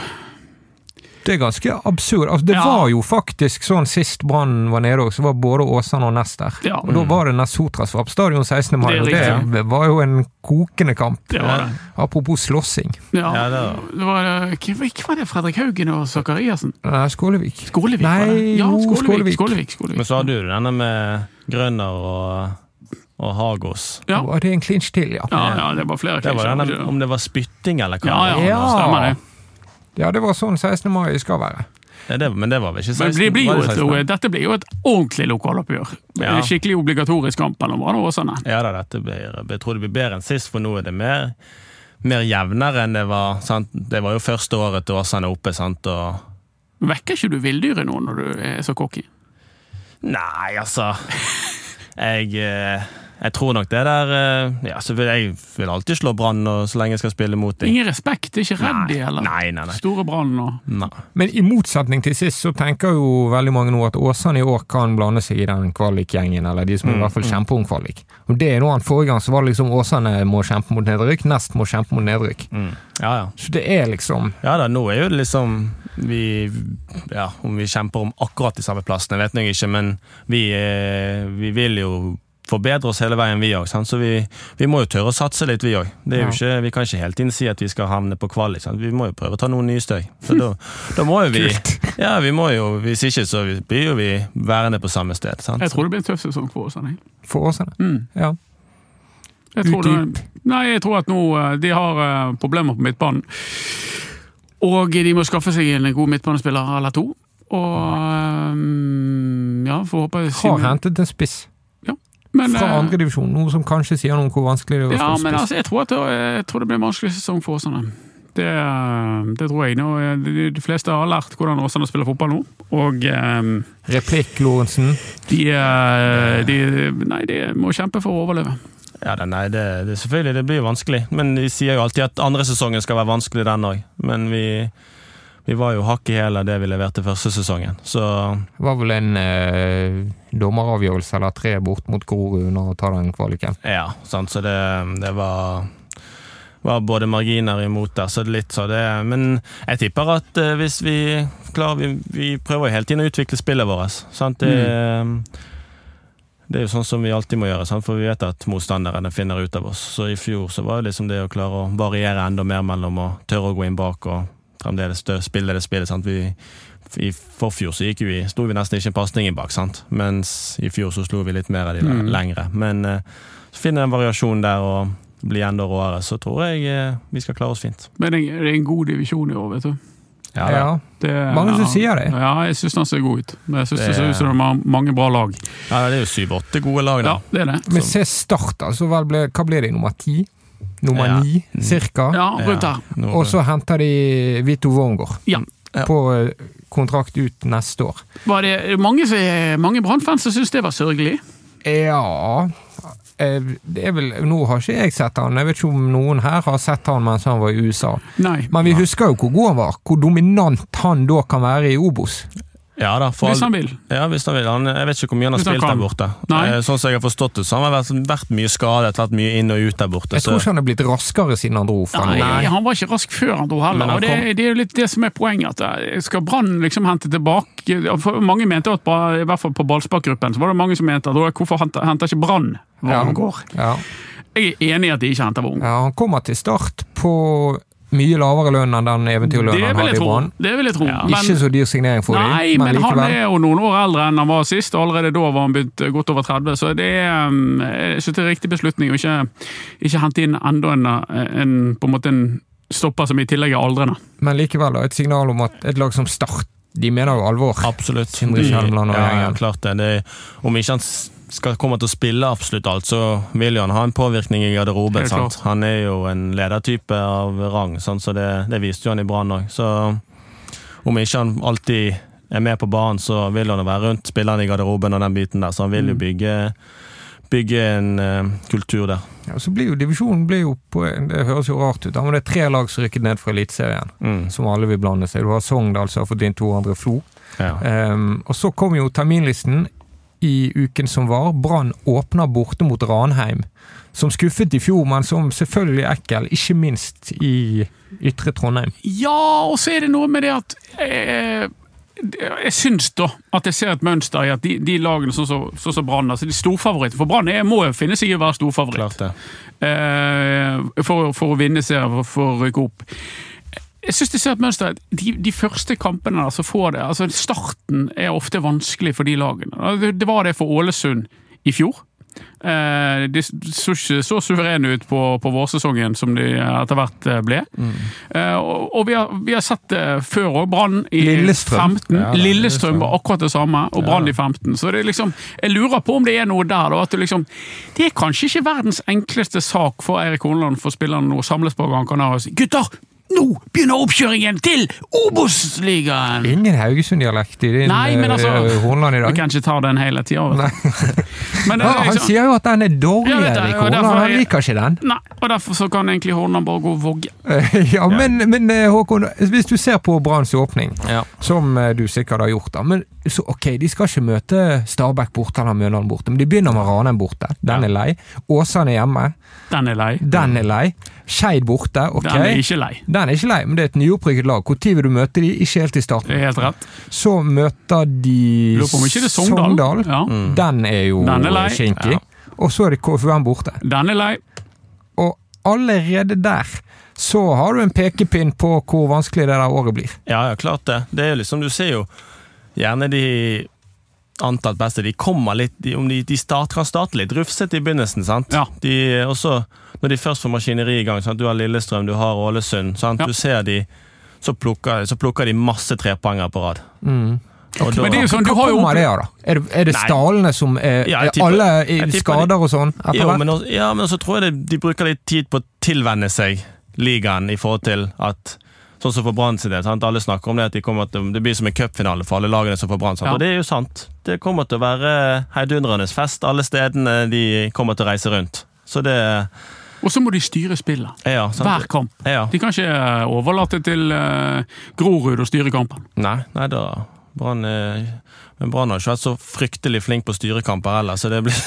Speaker 2: Det er ganske absurd. Altså, det
Speaker 3: Ja.
Speaker 2: var jo faktisk sånn sist Brann var nede òg, så var både Åsane og Nest der.
Speaker 3: Ja,
Speaker 2: Og da var det Nessotra som var på stadion 16. mai,
Speaker 3: Det er
Speaker 2: og
Speaker 3: riktig.
Speaker 2: det var jo en kokende kamp.
Speaker 3: det var det.
Speaker 2: Apropos slåssing.
Speaker 3: Ja.
Speaker 4: Ja, det var-
Speaker 3: det var, hva hva var det Fredrik Haugen og Zakariassen?
Speaker 2: Nei, Skålevik.
Speaker 3: Skålevik, var
Speaker 2: Nei,
Speaker 3: det? Ja,
Speaker 2: jo,
Speaker 3: Skålevik.
Speaker 2: Skålevik.
Speaker 3: Skålevik, Skålevik.
Speaker 4: Men så hadde du denne med Grønner og, og Hagos.
Speaker 3: Ja.
Speaker 2: Var det en clinch til, ja?
Speaker 3: Ja, ja, det var flere
Speaker 4: Det var
Speaker 3: klisjer,
Speaker 4: denne,
Speaker 3: ikke det?
Speaker 4: om det var spytting eller hva.
Speaker 3: Ja, ja,
Speaker 2: Ja.
Speaker 3: stemmer det.
Speaker 2: Ja, det var sånn 16. mai skal være.
Speaker 4: Ja, det, men det var vel ikke 16?
Speaker 3: Men det blir
Speaker 4: var
Speaker 3: jo
Speaker 4: det 16?
Speaker 3: et, dette blir jo et ordentlig lokaloppgjør.
Speaker 4: Ja.
Speaker 3: En Skikkelig obligatorisk kamp mellom Brann og Åsane.
Speaker 4: Ja da, dette blir, jeg tror det blir bedre enn sist, for nå er det mer, mer jevnere enn det var. Sant? Det var jo første året til Åsane oppe, sant? og
Speaker 3: Vekker ikke du villdyret nå når du er så cocky?
Speaker 4: Nei, altså Jeg, eh, jeg tror nok det der eh, Ja, så vil jeg vil alltid slå Brann og- så lenge jeg skal spille mot dem.
Speaker 3: Ingen respekt, ikke redd de heller.
Speaker 4: Nei, nei, nei.
Speaker 3: Store Brann og
Speaker 4: nei.
Speaker 2: Men i motsetning til sist, så tenker jo veldig mange nå at Åsane i år kan blande seg i den kvalikgjengen, eller de
Speaker 3: Mm.
Speaker 2: som i hvert fall kjemper om kvalik. Og det er noe annet. Forrige gang så var det liksom Åsane må kjempe mot nedrykk, Nest må kjempe mot nedrykk.
Speaker 4: Mm. Ja, ja.
Speaker 2: Så det er liksom
Speaker 4: Ja da, nå er jo det liksom vi, ja, Om vi kjemper om akkurat de samme plassene, vet jeg ikke, men vi, eh, vi vil jo forbedre oss hele veien, vi òg. Så vi, vi må jo tørre å satse litt, vi òg. Vi kan ikke hele tiden si at vi skal havne på kvalik. Sant? Vi må jo prøve å ta noen nye støy. Så da, da må jo vi Ja, vi må jo Hvis ikke, så blir jo vi værende på samme sted. Sant?
Speaker 3: Jeg tror det blir en tøff sesong for Åsane.
Speaker 2: for Åsane.
Speaker 3: Mm.
Speaker 2: Ja.
Speaker 3: Jeg tror det, nei, jeg tror at nå eh, de har eh, problemer på midtbanen. Og de må skaffe seg en god midtbanespiller eller to. Og eh, ja, får håpe
Speaker 2: Har hentet en spiss
Speaker 3: Men,
Speaker 2: fra
Speaker 3: eh,
Speaker 2: andredivisjon, noe som kanskje sier noe om hvor vanskelig det er
Speaker 3: Ja,
Speaker 2: å
Speaker 3: men
Speaker 2: spille spiss.
Speaker 3: altså, jeg tror, at det, jeg tror det blir en vanskelig sesong for Åsane. Det, eh, det tror jeg. Nå, de, de fleste har lært hvordan Åsane spiller fotball nå. Og eh,
Speaker 2: Replikk, Lorentzen.
Speaker 3: de, eh, de Nei, de må kjempe for å overleve.
Speaker 4: Ja, da, nei, det, det, selvfølgelig, det blir jo vanskelig. Men de sier jo alltid at andre sesongen skal være vanskelig, den òg. Men vi, vi var jo hakk i hæl av det vi leverte første sesongen. Så
Speaker 2: Det var vel en eh, dommeravgjørelse eller tre bort mot Grorud under å ta den kvaliken.
Speaker 4: ja, sant? så det, det var var både marginer imot der, så det er litt så det Men jeg tipper at eh, hvis vi klarer Vi, vi prøver jo hele tiden å utvikle spillet vårt. Sant? Det, det er jo sånn som vi alltid må gjøre, sant? for vi vet at motstanderne finner ut av oss. Så i fjor så var det liksom det å klare å variere enda mer mellom å tørre å gå inn bak og fremdeles stø- spille det spillet. Sant? Vi, I forfjor så gikk vi, sto vi nesten ikke en pasning inn bak, sant? mens i fjor så slo vi litt mer av de
Speaker 3: Mm.
Speaker 4: lengre. Men eh, så finner jeg en variasjon der og blir enda råere, så tror jeg eh, vi skal klare oss fint.
Speaker 3: Men det er en god divisjon i år, vet du.
Speaker 4: da.
Speaker 2: Ja,
Speaker 3: Det,
Speaker 2: Mange som sier det.
Speaker 3: Ja, jeg syns den ser god ut. Men jeg syns det
Speaker 4: Det-
Speaker 3: ser ut som de har mange bra lag.
Speaker 4: ja det er jo syv-åtte gode lag, da.
Speaker 3: Ja, det er det.
Speaker 2: Men se Start, altså. Vel ble, hva ble de? Nummer ti? Nummer
Speaker 4: Ja.
Speaker 2: ni, cirka?
Speaker 3: Ja, rundt der.
Speaker 4: Nå-
Speaker 2: Og så henter de Vito Wormgård
Speaker 3: Ja.
Speaker 4: Ja.
Speaker 2: på eh, kontrakt ut neste år.
Speaker 3: Var det mange, som- mange Brann-fans som syns det var sørgelig?
Speaker 2: Ja eh, det er vel, Nå har ikke jeg sett han, jeg vet ikke om noen her har sett han mens han var i USA.
Speaker 3: Nei.
Speaker 2: Men vi husker jo hvor god han var, hvor dominant han da kan være i Obos.
Speaker 4: ja da, for
Speaker 3: Hvis
Speaker 4: all-
Speaker 3: han vil.
Speaker 4: Ja, hvis han vil. Han, eh, jeg vet ikke hvor mye han har
Speaker 3: Hvis han
Speaker 4: spilt der
Speaker 3: kan.
Speaker 4: borte.
Speaker 3: Nei.
Speaker 4: Eh, Sånn som jeg har forstått det, så han har vært, vært mye skadet, vært mye inn og ut der borte.
Speaker 2: Jeg
Speaker 4: Så,
Speaker 2: tror ikke han er blitt raskere siden han dro fra
Speaker 3: Nei,
Speaker 2: Norge.
Speaker 3: han var ikke rask før han dro heller.
Speaker 4: Men han
Speaker 3: og det,
Speaker 4: kom-
Speaker 3: det er jo litt det som er poenget. at eh, Skal Brann liksom hente tilbake for Mange mente at bare, i hvert fall på Ballspark-gruppen så var det mange som mente at «Å, hvorfor henter, henter ikke Brann Wormgård?
Speaker 2: Ja.
Speaker 3: Jeg er enig i at de ikke henter Wormgård.
Speaker 2: ja, Han kommer til start på mye lavere lønn enn den
Speaker 3: Det
Speaker 2: eventyrlønnen han
Speaker 3: vil
Speaker 2: hadde i
Speaker 3: jeg tro.
Speaker 2: Brann.
Speaker 3: Det vil jeg tro.
Speaker 2: Ikke så dyr signering for dem,
Speaker 3: Nei,
Speaker 2: men
Speaker 3: men han
Speaker 2: likevel.
Speaker 3: er jo noen år eldre enn han var sist, og allerede da var han begynt eh, godt over 30, så det mm, er, eh, jeg synes det er riktig beslutning å ikke, ikke hente inn enda en, eh, en, på en måte en stopper som i tillegg er aldrende.
Speaker 2: Men likevel, da, et signal om at et lag som Start De mener jo alvor.
Speaker 4: Absolutt.
Speaker 2: Sindre Kjelmeland og
Speaker 4: ja, ja,
Speaker 2: gjengen.
Speaker 4: klart det. det. Om ikke han s- skal komme til å spille absolutt alt, så vil jo han ha en påvirkning i garderoben.
Speaker 3: Helt
Speaker 4: Sant?
Speaker 3: klart.
Speaker 4: Han er jo en ledertype av rang, sant? så det, det viste jo han i Brann òg. Så om ikke han alltid er med på banen, så vil han jo være rundt spillerne i garderoben og den biten der, så han vil
Speaker 3: Mm.
Speaker 4: jo bygge, bygge en eh, kultur der.
Speaker 2: Ja, så blir jo divisjonen blir jo på, Det høres jo rart ut, da, men det er tre lag som rykket ned fra Eliteserien.
Speaker 3: Mm.
Speaker 2: Som alle vil blande seg. Du har Sogndal som har fått inn to andre Flo.
Speaker 4: Ja.
Speaker 2: Ehm, og så kom jo terminlisten i uken som var. Brann åpner borte mot Ranheim. Som skuffet i fjor, men som selvfølgelig er ekkel, ikke minst i ytre Trondheim.
Speaker 3: Ja, og så er det noe med det at eh, Jeg syns da at jeg ser et mønster i at de, de lagene sånn som sånn som Brann altså de storfavoritter For Brann er- må jo finne seg i å være storfavoritt
Speaker 4: Klart det.
Speaker 3: eh, for, for å vinne serien, for, for å rykke opp. Jeg syns jeg ser et mønster. at De, de første kampene der, så får det altså Starten er ofte vanskelig for de lagene. Det, det var det for Ålesund i fjor. Eh, de så ikke så suverene ut på, på vårsesongen som de etter hvert eh, ble. Eh, og, og vi, har, vi har sett det før òg. Brann i
Speaker 2: Lillestrøm.
Speaker 3: 15.
Speaker 4: Ja, da,
Speaker 3: Lillestrøm
Speaker 4: Lillestrøm.
Speaker 3: var akkurat det samme, og Brann i 15. Så det er liksom, jeg lurer på om det er noe der. Da, at det, liksom, det er kanskje ikke verdens enkleste sak for Eirik Horneland for spillerne nå å samles på Gran Canaria og si gutter! Nå begynner oppkjøringen til Obos-ligaen!
Speaker 2: Ingen Haugesund-dialekt i din
Speaker 3: Nei, men altså,
Speaker 2: eh, Hornland i
Speaker 3: Vi
Speaker 2: dag.
Speaker 3: kan ikke ta den hele tida.
Speaker 2: Nei.
Speaker 3: Men det
Speaker 2: Ja,
Speaker 3: er
Speaker 2: han
Speaker 3: liksom-
Speaker 2: sier jo at den er dårlig,
Speaker 3: Ja, vet jeg,
Speaker 2: Erik
Speaker 3: og
Speaker 2: Hornland.
Speaker 3: derfor er
Speaker 2: Han
Speaker 3: jeg-
Speaker 2: liker ikke den.
Speaker 3: Nei, og derfor så kan egentlig Horneland bare gå og vogge.
Speaker 2: ja, men, men eh, Håkon, hvis du ser på Branns åpning,
Speaker 4: Ja.
Speaker 2: som eh, du sikkert har gjort da, men så ok, de skal ikke møte Stabæk borte eller Mjøndalen borte, men de begynner med Ranheim borte. Den
Speaker 4: Ja.
Speaker 2: er lei. Åsane er hjemme.
Speaker 3: Den er lei.
Speaker 2: Den er lei. Skeid borte, ok.
Speaker 3: Den er ikke lei.
Speaker 2: Den er ikke lei, men det er et nyopprykket lag. Når vil du møte de? Ikke helt i
Speaker 3: Det
Speaker 2: starten.
Speaker 3: er helt rett.
Speaker 2: Så møter de
Speaker 3: Lurer på om ikke det er Sogndal. Ja.
Speaker 2: Den er jo
Speaker 3: Den er lei.
Speaker 2: kinkig.
Speaker 4: Mm. Ja.
Speaker 2: Og så er det KFUM borte.
Speaker 3: Den er lei.
Speaker 2: Og allerede der så har du en pekepinn på hvor vanskelig det der året blir.
Speaker 4: Ja, ja, klart det. Det er jo liksom, Du ser jo gjerne de antatt beste. De kommer litt, de, om de, de start, kan starte litt rufsete i begynnelsen. sant?
Speaker 3: Ja.
Speaker 4: De, også, når de først får maskineri i gang, sant? du har Lillestrøm, du har Ålesund. sant?
Speaker 3: Ja.
Speaker 4: Du ser de, så plukker, så plukker de masse trepoengere på rad. Og da-
Speaker 3: Mm. Men det er jo sånn, du
Speaker 2: Hva
Speaker 3: har jo
Speaker 2: kommer det
Speaker 3: opplevd
Speaker 2: av, da? Er det, er det
Speaker 4: Nei.
Speaker 2: stallene som er,
Speaker 4: Ja, jeg
Speaker 2: er
Speaker 4: tipper-
Speaker 2: alle i
Speaker 4: jeg tipper de-
Speaker 2: skader og sånn? etter
Speaker 4: Jo,
Speaker 2: hvert?
Speaker 4: men også, ja, men så tror jeg de, de bruker litt tid på å tilvenne seg ligaen i forhold til at Sånn som for Brann sin del. sant? Alle snakker om det at de kommer til, det blir som en cupfinale for alle lagene som får Brann. sant?
Speaker 3: Ja.
Speaker 4: Og det er jo sant. Det kommer til å være heidundrendes fest alle stedene de kommer til å reise rundt. Så det
Speaker 3: Og så må de styre spillet.
Speaker 4: Ja.
Speaker 2: Sånn.
Speaker 4: sant?
Speaker 3: Hver kamp.
Speaker 4: Ja.
Speaker 3: De kan ikke eh, overlate til eh, Grorud å styre kampen.
Speaker 4: Nei, nei da. Brann eh, Men Brann har ikke vært så fryktelig flink på styrekamper heller, så det blir,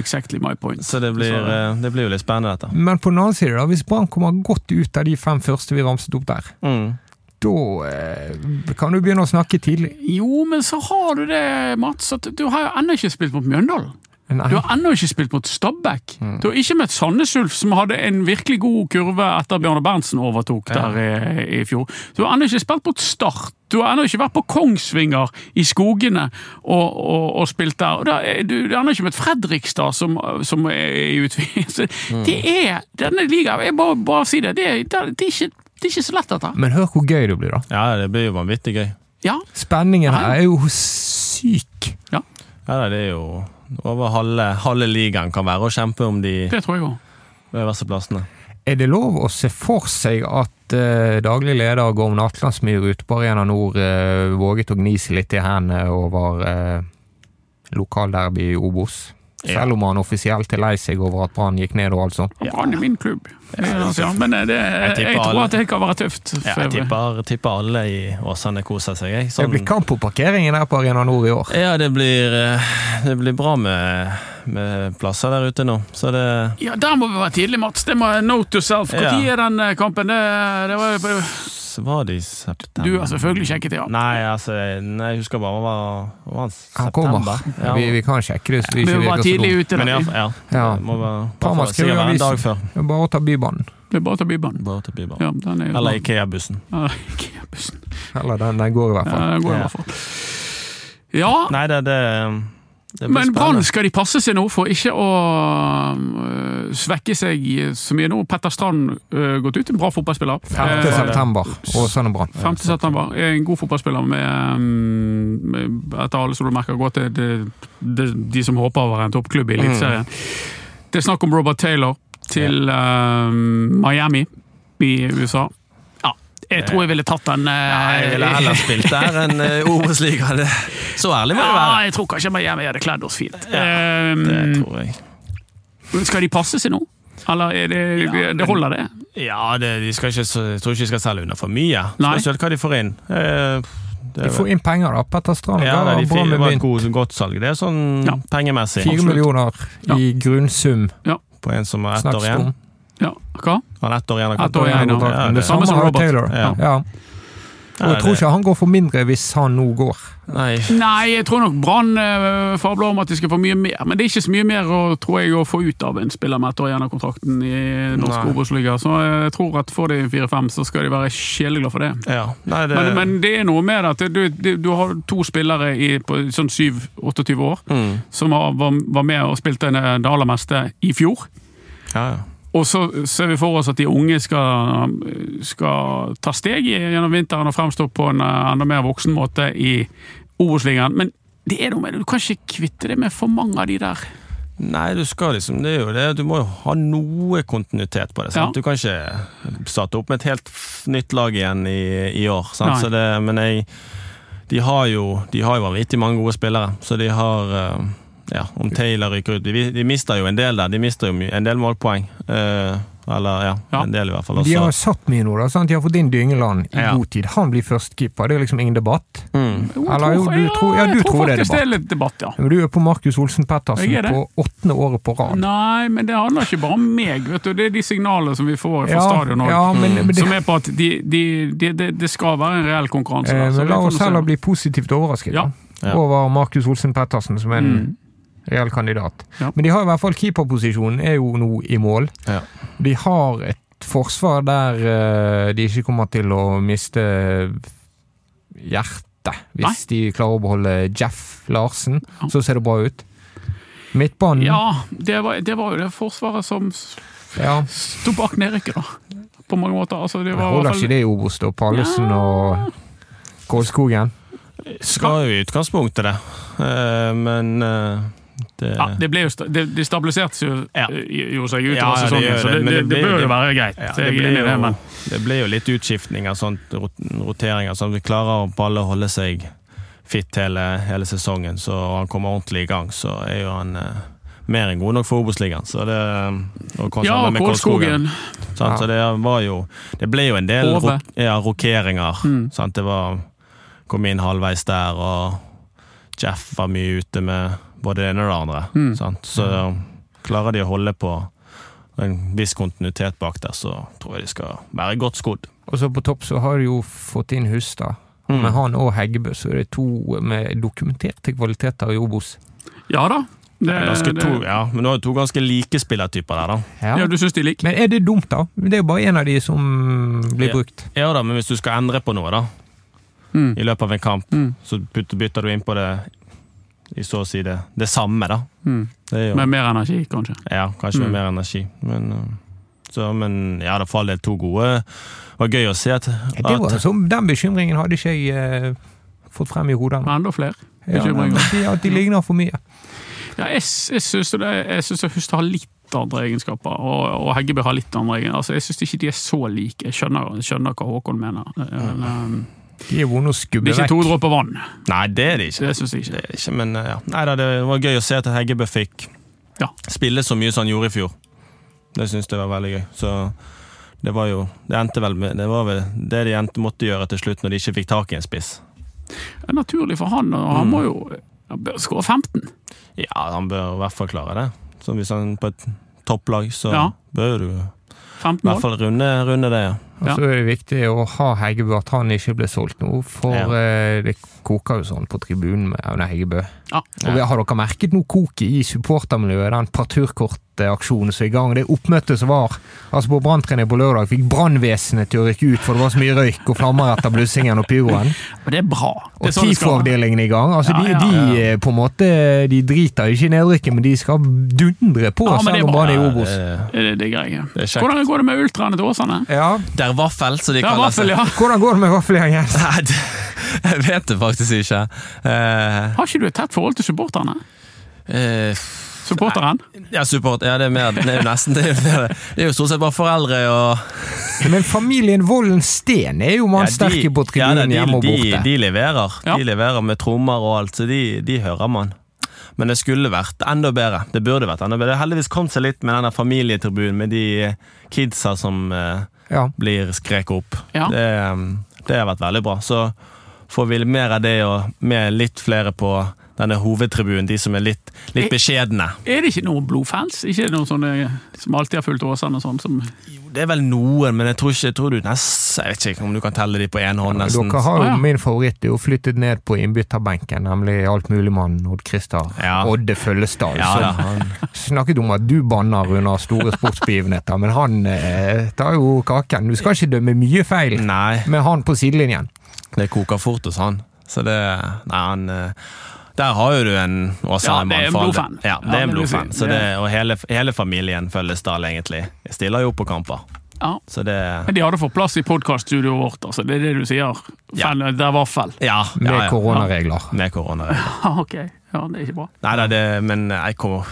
Speaker 3: Exactly my point.
Speaker 4: så det blir, eh, det blir jo litt spennende, dette.
Speaker 2: Men på den annen side, da, hvis Brann kommer godt ut av de fem første vi ramset opp der,
Speaker 4: Mm.
Speaker 2: da eh, kan du begynne å snakke tidlig.
Speaker 3: Jo, men så har du det, Mats, at du har jo ennå ikke spilt mot Mjøndalen.
Speaker 2: Nei.
Speaker 3: Du har ennå ikke spilt mot Stabæk.
Speaker 4: Mm.
Speaker 3: Du har ikke møtt Sandnes Ulf, som hadde en virkelig god kurve etter Bjarne Berntsen overtok der i, i fjor. Du har ennå ikke spilt mot Start. Du har ennå ikke vært på Kongsvinger i skogene og, og, og spilt der. Og da er du, du har ennå ikke møtt Fredrikstad, som, som er i utvidelse.
Speaker 4: Mm.
Speaker 3: Det er Denne ligaen, jeg bare, bare si det, det er, det, er ikke, det er ikke så lett, dette.
Speaker 2: Men hør hvor gøy det blir, da.
Speaker 4: Ja, det blir jo vanvittig gøy.
Speaker 3: Ja,
Speaker 2: Spenningen her er jo syk.
Speaker 4: Ja, nei, det er jo over halve, halve ligaen kan være å kjempe om de
Speaker 3: det tror jeg òg.
Speaker 4: øverste plassene.
Speaker 2: Er det lov å se for seg at eh, daglig leder Gorm Atlandsmyr ute på Arena Nord eh, våget å gni seg litt i hendene over eh, lokalderby i Obos?
Speaker 4: Ja.
Speaker 2: Selv om han offisielt er lei seg over at Brann gikk ned og alt sånt.
Speaker 3: Brann er min klubb. Det er altså, men det, jeg,
Speaker 4: tipper
Speaker 3: tror
Speaker 4: alle-
Speaker 3: at det kan være tøft.
Speaker 4: Ja, jeg tipper, tipper alle i Åsane koser seg. Jeg.
Speaker 3: Sånn.
Speaker 4: Sånn-
Speaker 2: Det blir kamp på parkeringen her på Arena Nord i år.
Speaker 4: ja, det blir, eh, det blir bra med, med plasser der ute nå, så det
Speaker 3: Ja, Der må vi være tidlig, Mats. Det må Note to self. Når
Speaker 4: Ja.
Speaker 3: er den eh, kampen? Det, det var, jo-
Speaker 4: så var det i september
Speaker 3: du har selvfølgelig sjekket det, ja.
Speaker 4: Nei, altså, nei, jeg husker bare det var, det var
Speaker 2: Han kommer.
Speaker 4: september. Ja.
Speaker 2: Vi, vi kan sjekke det. så vi
Speaker 3: Vi
Speaker 2: ikke
Speaker 3: må være
Speaker 2: virker så
Speaker 3: tidlig
Speaker 2: dumme.
Speaker 3: ute.
Speaker 4: Men
Speaker 3: da.
Speaker 4: ja, ja.
Speaker 2: Ja.
Speaker 4: Må være, bare
Speaker 2: Parma
Speaker 4: for, sikkert
Speaker 2: skriver
Speaker 4: være en
Speaker 2: avisen.
Speaker 4: dag før.
Speaker 2: Det er Bare å ta Bybanen.
Speaker 3: Det er bare å ta Bybanen.
Speaker 4: Bare til Bybanen.
Speaker 3: Ja, den er jo
Speaker 4: Eller Ikea-bussen.
Speaker 3: Ja, Ikea-bussen.
Speaker 2: Eller den, den går i hvert
Speaker 3: Ja,
Speaker 2: fall.
Speaker 3: den går i
Speaker 4: Ja.
Speaker 3: hvert fall. Ja,
Speaker 4: Nei, det, det Det blir
Speaker 3: Men Brann
Speaker 4: spennende.
Speaker 3: skal de passe seg nå for ikke å øh, svekke seg så mye nå. Petter Strand øh, gått ut, en bra fotballspiller.
Speaker 2: 5.
Speaker 3: Eh,
Speaker 2: september, Åsane Brann.
Speaker 3: 5. september. Er En god fotballspiller med, mm, med etter alle solemerker gå til de, de, de som håper å være en toppklubb i Eliteserien.
Speaker 4: Mm.
Speaker 3: Det er snakk om Robert Taylor til eh, Miami i USA. Ja, jeg tror jeg ville tatt den eh,
Speaker 4: Nei, jeg ville heller spilt der enn eh, Obos-ligaen. Det- Så ærlig må det
Speaker 3: Ja,
Speaker 4: være.
Speaker 3: jeg tror kanskje Miami hadde kledd oss fint. Eh,
Speaker 4: Det tror jeg.
Speaker 3: skal de passe seg nå? Eller er det,
Speaker 4: Ja,
Speaker 3: det holder, det?
Speaker 4: Ja, det, de skal ikke, så- jeg tror ikke de skal selge unna for mye.
Speaker 3: Nei.
Speaker 4: Spesielt hva de får inn. Eh, det
Speaker 2: De
Speaker 4: er
Speaker 2: får inn penger, da. Petter Strand
Speaker 4: ja,
Speaker 2: ga
Speaker 4: det, de
Speaker 2: Brann
Speaker 4: fikk,
Speaker 2: med
Speaker 4: var et
Speaker 2: mynt.
Speaker 4: god, godt salg. Det er sånn
Speaker 3: Ja.
Speaker 4: pengemessig
Speaker 2: Fire millioner i grunnsum.
Speaker 4: på en som har ett år
Speaker 2: Snakkes det
Speaker 4: igjen.
Speaker 2: om.
Speaker 3: Ja, hva?
Speaker 4: Han har ett år igjen av
Speaker 3: Ett år
Speaker 4: kontrakten.
Speaker 3: igjen, ja.
Speaker 4: Ja,
Speaker 2: Det
Speaker 4: det-
Speaker 2: samme som Robert Taylor.
Speaker 4: Ja.
Speaker 2: Ja. Og jeg
Speaker 4: Nei,
Speaker 2: tror
Speaker 4: det-
Speaker 2: ikke han går for mindre hvis han nå går.
Speaker 4: Nei,
Speaker 3: Nei, jeg tror nok Brann eh, fabler om at de skal få mye mer, men det er ikke så mye mer å, tror jeg, å få ut av en spiller med ett år igjen av kontrakten i norsk
Speaker 4: Nei.
Speaker 3: Obos-liga. Så jeg tror at får de fire-fem, så skal de være sjeleglade for det.
Speaker 4: ja. Nei, det,
Speaker 3: Men, men det er noe med at du, du, du har to spillere i, på sånn 7-28 år
Speaker 4: mm.
Speaker 3: som har, var, var med og spilte det det aller meste i fjor.
Speaker 4: ja, ja.
Speaker 3: Og så ser vi for oss at de unge skal, skal ta steg gjennom vinteren og fremstå på en eh, enda mer voksen måte i Obos-ligaen. Men det er noe med det. du kan ikke kvitte det med for mange av de der.
Speaker 4: Nei, du skal liksom Det er jo det. Du må jo ha noe kontinuitet på det.
Speaker 3: Ja.
Speaker 4: sant? Du kan ikke starte opp med et helt f- nytt lag igjen i, i år. sant?
Speaker 3: Nei.
Speaker 4: Så det, men jeg De har jo De har jo vanvittig mange gode spillere, så de har eh, Ja, om Taylor ryker ut De, de mister jo en del der. De mister jo my- en del målpoeng. Eh, eller ja,
Speaker 3: Ja.
Speaker 4: en del i hvert fall.
Speaker 2: De har
Speaker 4: Også.
Speaker 2: satt mye nå, da. Sant? De har fått inn Dyngeland i
Speaker 4: Ja.
Speaker 2: god tid. Han blir førstekeeper, det er liksom ingen debatt.
Speaker 4: Mm.
Speaker 3: Jo, jeg
Speaker 2: Eller jo, du tror- ja,
Speaker 3: jeg
Speaker 2: du tror det er
Speaker 3: faktisk det er litt debatt, ja.
Speaker 2: Men Du er på Markus Olsen Pettersen
Speaker 3: Jeg er det.
Speaker 2: på åttende året på rad.
Speaker 3: Nei, men det handler ikke bare om meg. vet du. Det er de signalene som vi får fra
Speaker 2: Ja,
Speaker 3: stadion Mm. òg,
Speaker 2: ja, men, men det,
Speaker 3: som er på at de, de, de, det- det skal være en reell konkurranse.
Speaker 2: eh,
Speaker 3: der, så
Speaker 2: men
Speaker 3: vi
Speaker 2: la
Speaker 3: får
Speaker 2: oss
Speaker 3: nå se.
Speaker 2: heller bli positivt overrasket
Speaker 3: Ja.
Speaker 2: da,
Speaker 4: Ja.
Speaker 2: over Markus Olsen Pettersen som en
Speaker 3: Mm.
Speaker 2: reell kandidat.
Speaker 3: Ja.
Speaker 2: Men de har i hvert fall keeperposisjonen er jo nå i mål.
Speaker 4: Ja.
Speaker 2: De har et forsvar der eh, de ikke kommer til å miste hjertet. Hvis de klarer å beholde Jeff Larsen,
Speaker 3: Ja.
Speaker 2: så ser det bra ut. Midtbanen ja.
Speaker 3: Ja, det var, det var jo det forsvaret som sto bak nedrykket, da. På mange måter. Altså, det var i hvert
Speaker 2: Holder
Speaker 3: fall-
Speaker 2: ikke det i Obos, da? Pallesen
Speaker 3: Ja.
Speaker 2: og Kålskogen?
Speaker 4: Skal jo i utgangspunktet det, Eh, men eh, det
Speaker 3: Ja, det, ble jo, sta- det, det stabiliserte jo,
Speaker 4: Ja.
Speaker 3: jo seg utover
Speaker 4: Ja, ja, det
Speaker 3: sesongen,
Speaker 4: gjør det,
Speaker 3: så det,
Speaker 4: men
Speaker 3: det,
Speaker 4: det
Speaker 3: det
Speaker 4: blir-
Speaker 3: bør jo være greit.
Speaker 4: Ja,
Speaker 3: Jeg
Speaker 4: det,
Speaker 3: er
Speaker 4: blir
Speaker 3: enig i det,
Speaker 4: jo,
Speaker 3: men
Speaker 4: det blir jo litt utskiftninger, sånt, rot- roteringer, sånn at vi klarer å på alle holde seg fitt hele, hele sesongen, så han kommer ordentlig i gang, så er jo han eh, mer enn god nok for Obos-ligaen. så det, eh, Og kanskje
Speaker 3: Ja,
Speaker 4: sammen med Kolskogen.
Speaker 3: Kålskogen.
Speaker 2: Ja.
Speaker 4: Sant? Så det var jo Det ble jo en del
Speaker 3: Hove.
Speaker 4: ro, ja, rokeringer.
Speaker 3: Mm.
Speaker 4: Sant? Det var Kom inn halvveis der, og Jeff var mye ute med både det ene og det andre.
Speaker 3: Mm.
Speaker 4: Sant? Så klarer de å holde på en viss kontinuitet bak der, så tror jeg de skal være godt skodd.
Speaker 2: Og så på topp så har de jo fått inn Hustad.
Speaker 4: Mm.
Speaker 2: Med han og Heggebø, så er det to med dokumenterte kvaliteter i Obos.
Speaker 3: Ja da.
Speaker 4: Det er ganske to,
Speaker 3: det-
Speaker 4: ja, men nå er Eh, det to ganske like spillertyper der, da.
Speaker 3: ja, du syns de er like?
Speaker 2: Men er det dumt, da? Det er jo bare én av de som blir
Speaker 4: Ja.
Speaker 2: brukt.
Speaker 4: Ja da, men hvis du skal endre på noe, da,
Speaker 3: Mm.
Speaker 4: i løpet av en kamp,
Speaker 3: Mm.
Speaker 4: så bytter bytter du inn på det i så å si det, det samme, da.
Speaker 3: Mm.
Speaker 4: Det er jo
Speaker 3: Med mer energi, kanskje.
Speaker 4: Ja, kanskje
Speaker 3: Mm.
Speaker 4: med mer energi. Men, uh, så, men ja, det er for all del to gode. Det var gøy å se at,
Speaker 2: Ja, Det altså- var
Speaker 4: at
Speaker 2: som, den bekymringen hadde ikke jeg eh, fått frem i hodet.
Speaker 3: Men
Speaker 2: ennå.
Speaker 3: enda flere.
Speaker 2: Ja,
Speaker 3: bekymringer.
Speaker 2: de- at de ligner for mye.
Speaker 3: Ja, jeg s- jeg syns det- jeg syns Hustad har litt andre egenskaper, og, og Heggebø har litt andre egenskaper. Altså, jeg syns ikke de er så like. Jeg skjønner, jeg skjønner hva Håkon mener. Eh, men,
Speaker 2: De er vonde å
Speaker 3: Det
Speaker 2: skubbe
Speaker 3: er ikke to
Speaker 2: vekk.
Speaker 3: dråper vann.
Speaker 4: Nei, det er det ikke.
Speaker 3: Det syns jeg ikke.
Speaker 4: Det er det ikke men uh, ja. Nei, da, det var gøy å se at Heggebø fikk
Speaker 3: Ja.
Speaker 4: spille så mye som han gjorde i fjor. Det syns jeg var veldig gøy. Så det var jo Det endte vel med Det var vel det de endte måtte gjøre til slutt, når de ikke fikk tak i en spiss.
Speaker 3: Det er naturlig for han, og
Speaker 4: Mm.
Speaker 3: han må jo han bør skåre 15.
Speaker 4: Ja, han bør i hvert fall klare det. Så hvis han er på et topplag, så
Speaker 3: Ja.
Speaker 4: bør du i
Speaker 3: Femten
Speaker 4: hvert
Speaker 3: mål.
Speaker 4: fall runde, runde det. Ja.
Speaker 2: Og så er det viktig å ha Heggebø, at han ikke ble solgt nå. For
Speaker 4: Ja.
Speaker 2: eh, det koker jo sånn på tribunen med Aune Heggebø.
Speaker 3: Ja.
Speaker 2: Og vi- Har dere merket noe koket i supportermiljøet? Den parturkortaksjonen som er i gang. Det oppmøtet som var altså på branntrening på lørdag, fikk brannvesenet til å rykke ut, for det var så mye røyk og flammer etter blussingen og pyroen.
Speaker 3: Og det er bra. Det
Speaker 2: Og
Speaker 3: er sånn det skal være.
Speaker 2: TIFO-avdelingen i gang. Altså,
Speaker 3: Ja,
Speaker 2: de,
Speaker 3: ja,
Speaker 2: de eh, på en måte De driter ikke i nedrykket, men de skal dundre på,
Speaker 3: Ja, men det er
Speaker 2: selv om
Speaker 3: bra.
Speaker 2: bare det er
Speaker 4: det,
Speaker 2: Obos.
Speaker 3: Det, det er greie.
Speaker 4: Det er kjekt.
Speaker 3: Hvordan går det med ultraene til Åsane?
Speaker 2: Ja.
Speaker 4: det er vaffel, så de
Speaker 3: Det er
Speaker 4: kaller
Speaker 3: vaffel,
Speaker 4: seg.
Speaker 3: ja.
Speaker 2: Hvordan går det med vaffelgjengen?
Speaker 4: Nei, det, jeg vet det faktisk ikke. Eh,
Speaker 3: Har ikke du et tett forhold til supporterne?
Speaker 4: eh,
Speaker 3: Supporteren?
Speaker 4: ja, support. Ja, det er mer Det er jo nesten det. Er, jo mer- det er jo stort sett bare foreldre og
Speaker 2: Men familien Vollen Steen er jo
Speaker 4: ja,
Speaker 2: mannsterke på tribunen
Speaker 4: ja, da, de-
Speaker 2: hjemme og borte.
Speaker 4: De, de leverer.
Speaker 3: Ja.
Speaker 4: De leverer med trommer og alt, så de, de hører man. Men det skulle vært enda bedre. Det burde vært enda bedre. Det har heldigvis kommet seg litt med denne familietribunen, med de eh, kidsa som eh,
Speaker 2: ja.
Speaker 4: blir skreket opp.
Speaker 3: Ja.
Speaker 4: Det, eh, det har vært veldig bra. Så får vi mer av det, og med litt flere på denne hovedtribunen, de som er litt, litt beskjedne.
Speaker 3: Er det ikke noen blodfans? Ikke noen sånne som alltid har fulgt Åsane og sånn? Som,
Speaker 4: Det er vel noen, men jeg tror ikke jeg tror du nest, Jeg vet ikke om du kan telle de på én hånd, nesten.
Speaker 2: Dere har
Speaker 3: Ah, ja.
Speaker 2: jo min favoritt det er jo flyttet ned på innbytterbenken, nemlig altmuligmannen Odd Christer
Speaker 4: Ja.
Speaker 2: Odde Følgestad.
Speaker 4: Ja, da.
Speaker 2: som
Speaker 4: han-
Speaker 2: snakket om at du banner under store sportsbegivenheter, men han eh, tar jo kaken. Du skal ikke dømme mye feil
Speaker 4: Nei,
Speaker 2: med han på sidelinjen.
Speaker 4: det koker fort hos han. Så det Nei, han eh, Der har jo du en
Speaker 3: Ja, det er en
Speaker 4: mann, faen.
Speaker 3: blodfan.
Speaker 4: Ja, det
Speaker 3: Ja,
Speaker 4: er en
Speaker 3: det vil si.
Speaker 4: blodfan. Så det, og hele, hele familien Følgesdal, egentlig, stiller jo opp på kamper.
Speaker 3: ja.
Speaker 4: Så det
Speaker 3: Men de hadde fått plass i podkaststudioet vårt, altså. Det er det du sier.
Speaker 4: Ja.
Speaker 3: Fan, Det er vaffel.
Speaker 4: Ja,
Speaker 2: Med
Speaker 4: ja, ja.
Speaker 2: koronaregler.
Speaker 4: Med korona. ja.
Speaker 3: Ja, ok. Ja, det er ikke bra.
Speaker 4: Nei da, det, men jeg kommer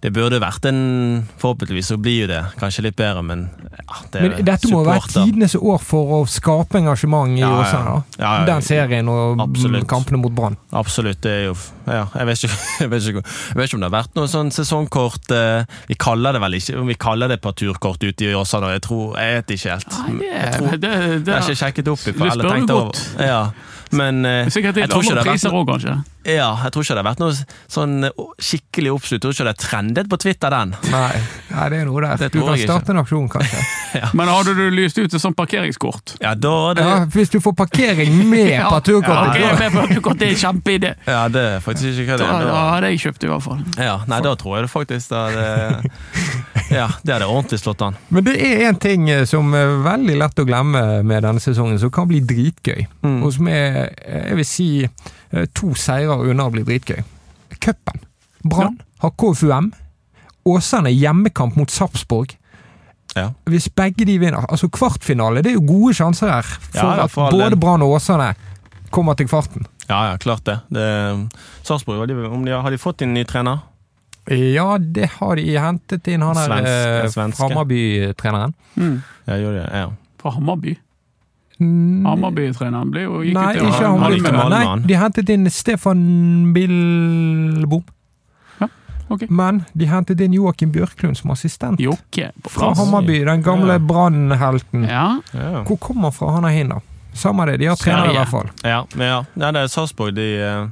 Speaker 4: Det burde vært en Forhåpentligvis så blir jo det kanskje litt bedre, men ja, det er
Speaker 2: Men dette må jo være
Speaker 4: supporter.
Speaker 2: tidenes år for å skape engasjement i
Speaker 4: Ja, ja.
Speaker 2: Åsane. da.
Speaker 4: Ja, ja.
Speaker 2: Den serien og
Speaker 4: Absolutt.
Speaker 2: mm, kampene mot Brann.
Speaker 4: Absolutt. Det er jo ja, jeg, vet ikke, jeg, vet ikke, jeg vet ikke om det har vært noe sånn sesongkort eh, Vi kaller det vel ikke om Vi kaller det parturkort ute i Åsane, og jeg tror Jeg vet ikke helt.
Speaker 3: Nei, det,
Speaker 4: Jeg tror-
Speaker 3: det, det,
Speaker 4: jeg har ikke sjekket opp i
Speaker 3: Du spør jo godt.
Speaker 4: Ja, men eh, jeg
Speaker 3: Sikkert litt
Speaker 4: tror ikke
Speaker 3: andre
Speaker 4: det har vært
Speaker 3: priser òg, kanskje.
Speaker 4: Ja, jeg tror ikke det har vært noe sånn eh, skikkelig oppslutt. Jeg tror ikke det er trendet på Twitter, den.
Speaker 2: Nei, nei, det er noe der.
Speaker 4: Det
Speaker 2: Du
Speaker 4: tror
Speaker 2: kan
Speaker 4: jeg
Speaker 2: starte en aksjon, kanskje.
Speaker 3: Men hadde du lyst ut et sånt parkeringskort?
Speaker 4: Ja, da er det
Speaker 2: Ja, hvis du får parkering med
Speaker 3: Ja,
Speaker 2: parturkortet,
Speaker 3: ok,
Speaker 2: da-
Speaker 3: med parturkort, det er en kjempeidé.
Speaker 4: Ja, det er faktisk
Speaker 3: Da,
Speaker 4: ikke hva det er.
Speaker 3: da
Speaker 4: Da-
Speaker 3: hadde jeg kjøpt det, i hvert fall.
Speaker 4: Ja, nei, da tror jeg det faktisk da det, Ja, det hadde ordentlig slått an.
Speaker 2: Men det er én ting eh, som er veldig lett å glemme med denne sesongen, som kan bli dritgøy.
Speaker 4: Mm.
Speaker 2: Og som er, eh, jeg vil si, eh, to seirer unna å bli dritgøy. Cupen. Brann har KFUM. Åsane hjemmekamp mot Sarpsborg.
Speaker 4: Ja.
Speaker 2: Hvis begge de vinner Altså kvartfinale, det er jo gode sjanser her. For
Speaker 4: Ja, ja,
Speaker 2: at
Speaker 4: for all
Speaker 2: både
Speaker 4: den.
Speaker 2: Brann og Åsane kommer til kvarten.
Speaker 4: Ja, ja, klart det. det Sarpsborg, har de- om de har, har de fått inn ny trener?
Speaker 2: Ja, det har de hentet inn, han
Speaker 4: Svensk-
Speaker 2: der eh,
Speaker 4: svenske.
Speaker 2: Hammarby-treneren.
Speaker 3: Mm.
Speaker 4: Ja, gjør de det? Ja.
Speaker 3: Fra Hammarby.
Speaker 2: Mm,
Speaker 3: Hammarby-treneren ble jo gikk
Speaker 2: Nei,
Speaker 3: jo til
Speaker 2: ikke
Speaker 4: han
Speaker 2: han.
Speaker 4: gikk til
Speaker 3: Malmö.
Speaker 4: Malmö.
Speaker 2: Nei,
Speaker 4: han.
Speaker 2: de hentet inn Stefan Billbom.
Speaker 3: Ja, ok.
Speaker 2: Men de hentet inn Joakim Bjørklund som assistent.
Speaker 3: Jokke på
Speaker 2: Fra
Speaker 3: plass.
Speaker 2: Hammarby, den gamle
Speaker 4: Ja.
Speaker 2: Brann-helten.
Speaker 3: Ja,
Speaker 4: Ja,
Speaker 2: Hvor kommer han fra, han er hin, da? Samme det, de har trenere i
Speaker 3: Sverige.
Speaker 2: hvert fall.
Speaker 4: ja, men ja. ja det er Sarpsborg. De, eh,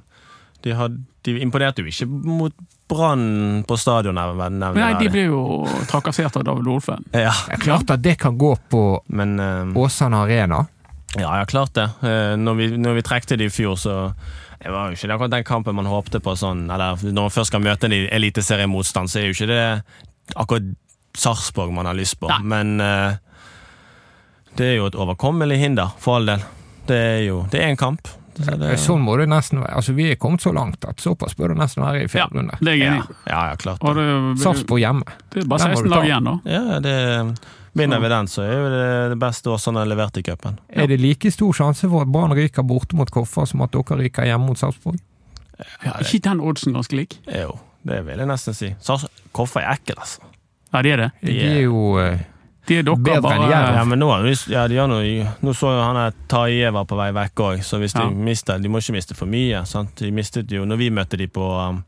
Speaker 4: de, har- de imponerte jo ikke mot Brann på stadion, nevner
Speaker 3: men nei, de
Speaker 4: jeg.
Speaker 3: ble jo trakassert av David Olfen.
Speaker 4: Ja,
Speaker 2: Det er Klart at det kan gå på
Speaker 4: men eh,
Speaker 2: Åsane Arena.
Speaker 4: Ja, ja, klart det. Eh, Når vi, når vi trekte det i fjor, så det var jo ikke akkurat den kampen man håpte på. Sånn, eller når man først skal møte en eliteseriemotstand, så er jo ikke det akkurat Sarpsborg man har lyst på.
Speaker 3: Nei.
Speaker 4: Men eh, det er jo et overkommelig hinder, for all del. Det er jo Det er en kamp. Så det,
Speaker 2: Sånn må det nesten være. Altså, vi er kommet så langt at såpass bør det nesten være i
Speaker 3: Ja,
Speaker 2: fjerde runde.
Speaker 3: det er jeg
Speaker 4: ja,
Speaker 3: enig i.
Speaker 4: ja, ja, klart
Speaker 3: Og
Speaker 4: det.
Speaker 3: det,
Speaker 2: Sarpsborg hjemme.
Speaker 3: det er bare
Speaker 2: Den må
Speaker 3: 16
Speaker 2: du ta.
Speaker 3: lag igjen, da.
Speaker 4: Ja, det Vinner vi den, så er jo det det beste Åsane har levert i cupen.
Speaker 2: Er det like stor sjanse for at Brann ryker borte mot Koffa som at dere ryker hjemme mot Sarpsborg?
Speaker 3: Er ikke den oddsen ganske lik?
Speaker 4: Jo, det vil jeg nesten si. Sarps- Hvorfor er ekkel, altså?
Speaker 3: Ja, de er det.
Speaker 2: De er jo eh,
Speaker 3: De er dere
Speaker 2: Bedre enn
Speaker 3: bare
Speaker 2: Jerv.
Speaker 4: Ja, men nå, har vi- ja, de har noe, nå så jo han at Taie var på vei vekk òg, så hvis
Speaker 3: Ja.
Speaker 4: de mister De må ikke miste for mye. Sant? De mistet jo Når vi møtte de på, um,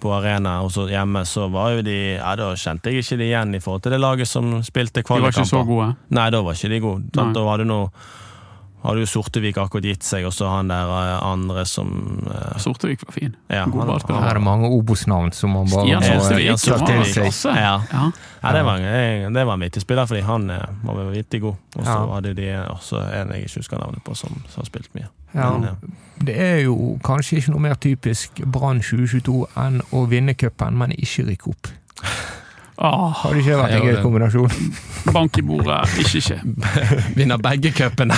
Speaker 4: på arena og så hjemme, så var jo de Ja, da kjente jeg ikke de igjen i forhold til det laget som spilte
Speaker 3: De var ikke så
Speaker 4: kvalikkamper.
Speaker 3: gode.
Speaker 4: Nei, da var ikke de gode.
Speaker 3: Nei.
Speaker 4: Sant? Da var det noe hadde jo Sortevik akkurat gitt seg, og så han der eh, andre som eh,
Speaker 3: Sortevik var fin.
Speaker 4: ja,
Speaker 3: God
Speaker 2: Her
Speaker 4: han-
Speaker 2: er
Speaker 3: ballspiller.
Speaker 2: det mange Obos-navn som man bare
Speaker 3: Stian
Speaker 2: må, eh,
Speaker 3: Sortevik
Speaker 4: Stian
Speaker 2: ta
Speaker 3: var
Speaker 2: til
Speaker 4: Sortevik.
Speaker 2: seg.
Speaker 3: klasse.
Speaker 4: Ja.
Speaker 3: Ja.
Speaker 4: Ja, det var, en, det var en vittig spiller, fordi han eh, var vel vittig god. Og så
Speaker 2: Ja.
Speaker 4: hadde de også en jeg ikke husker navnet på, som, som har spilt mye.
Speaker 2: Ja.
Speaker 4: Men, eh, ja.
Speaker 2: Det er jo kanskje ikke noe mer typisk Brann 2022 enn å vinne cupen, men ikke rykke opp.
Speaker 3: Ah,
Speaker 2: Hadde ikke vært en
Speaker 4: Ja,
Speaker 2: gøy
Speaker 4: det-
Speaker 2: kombinasjon.
Speaker 3: bank i bordet, ikke skje.
Speaker 4: Vinner begge cupene!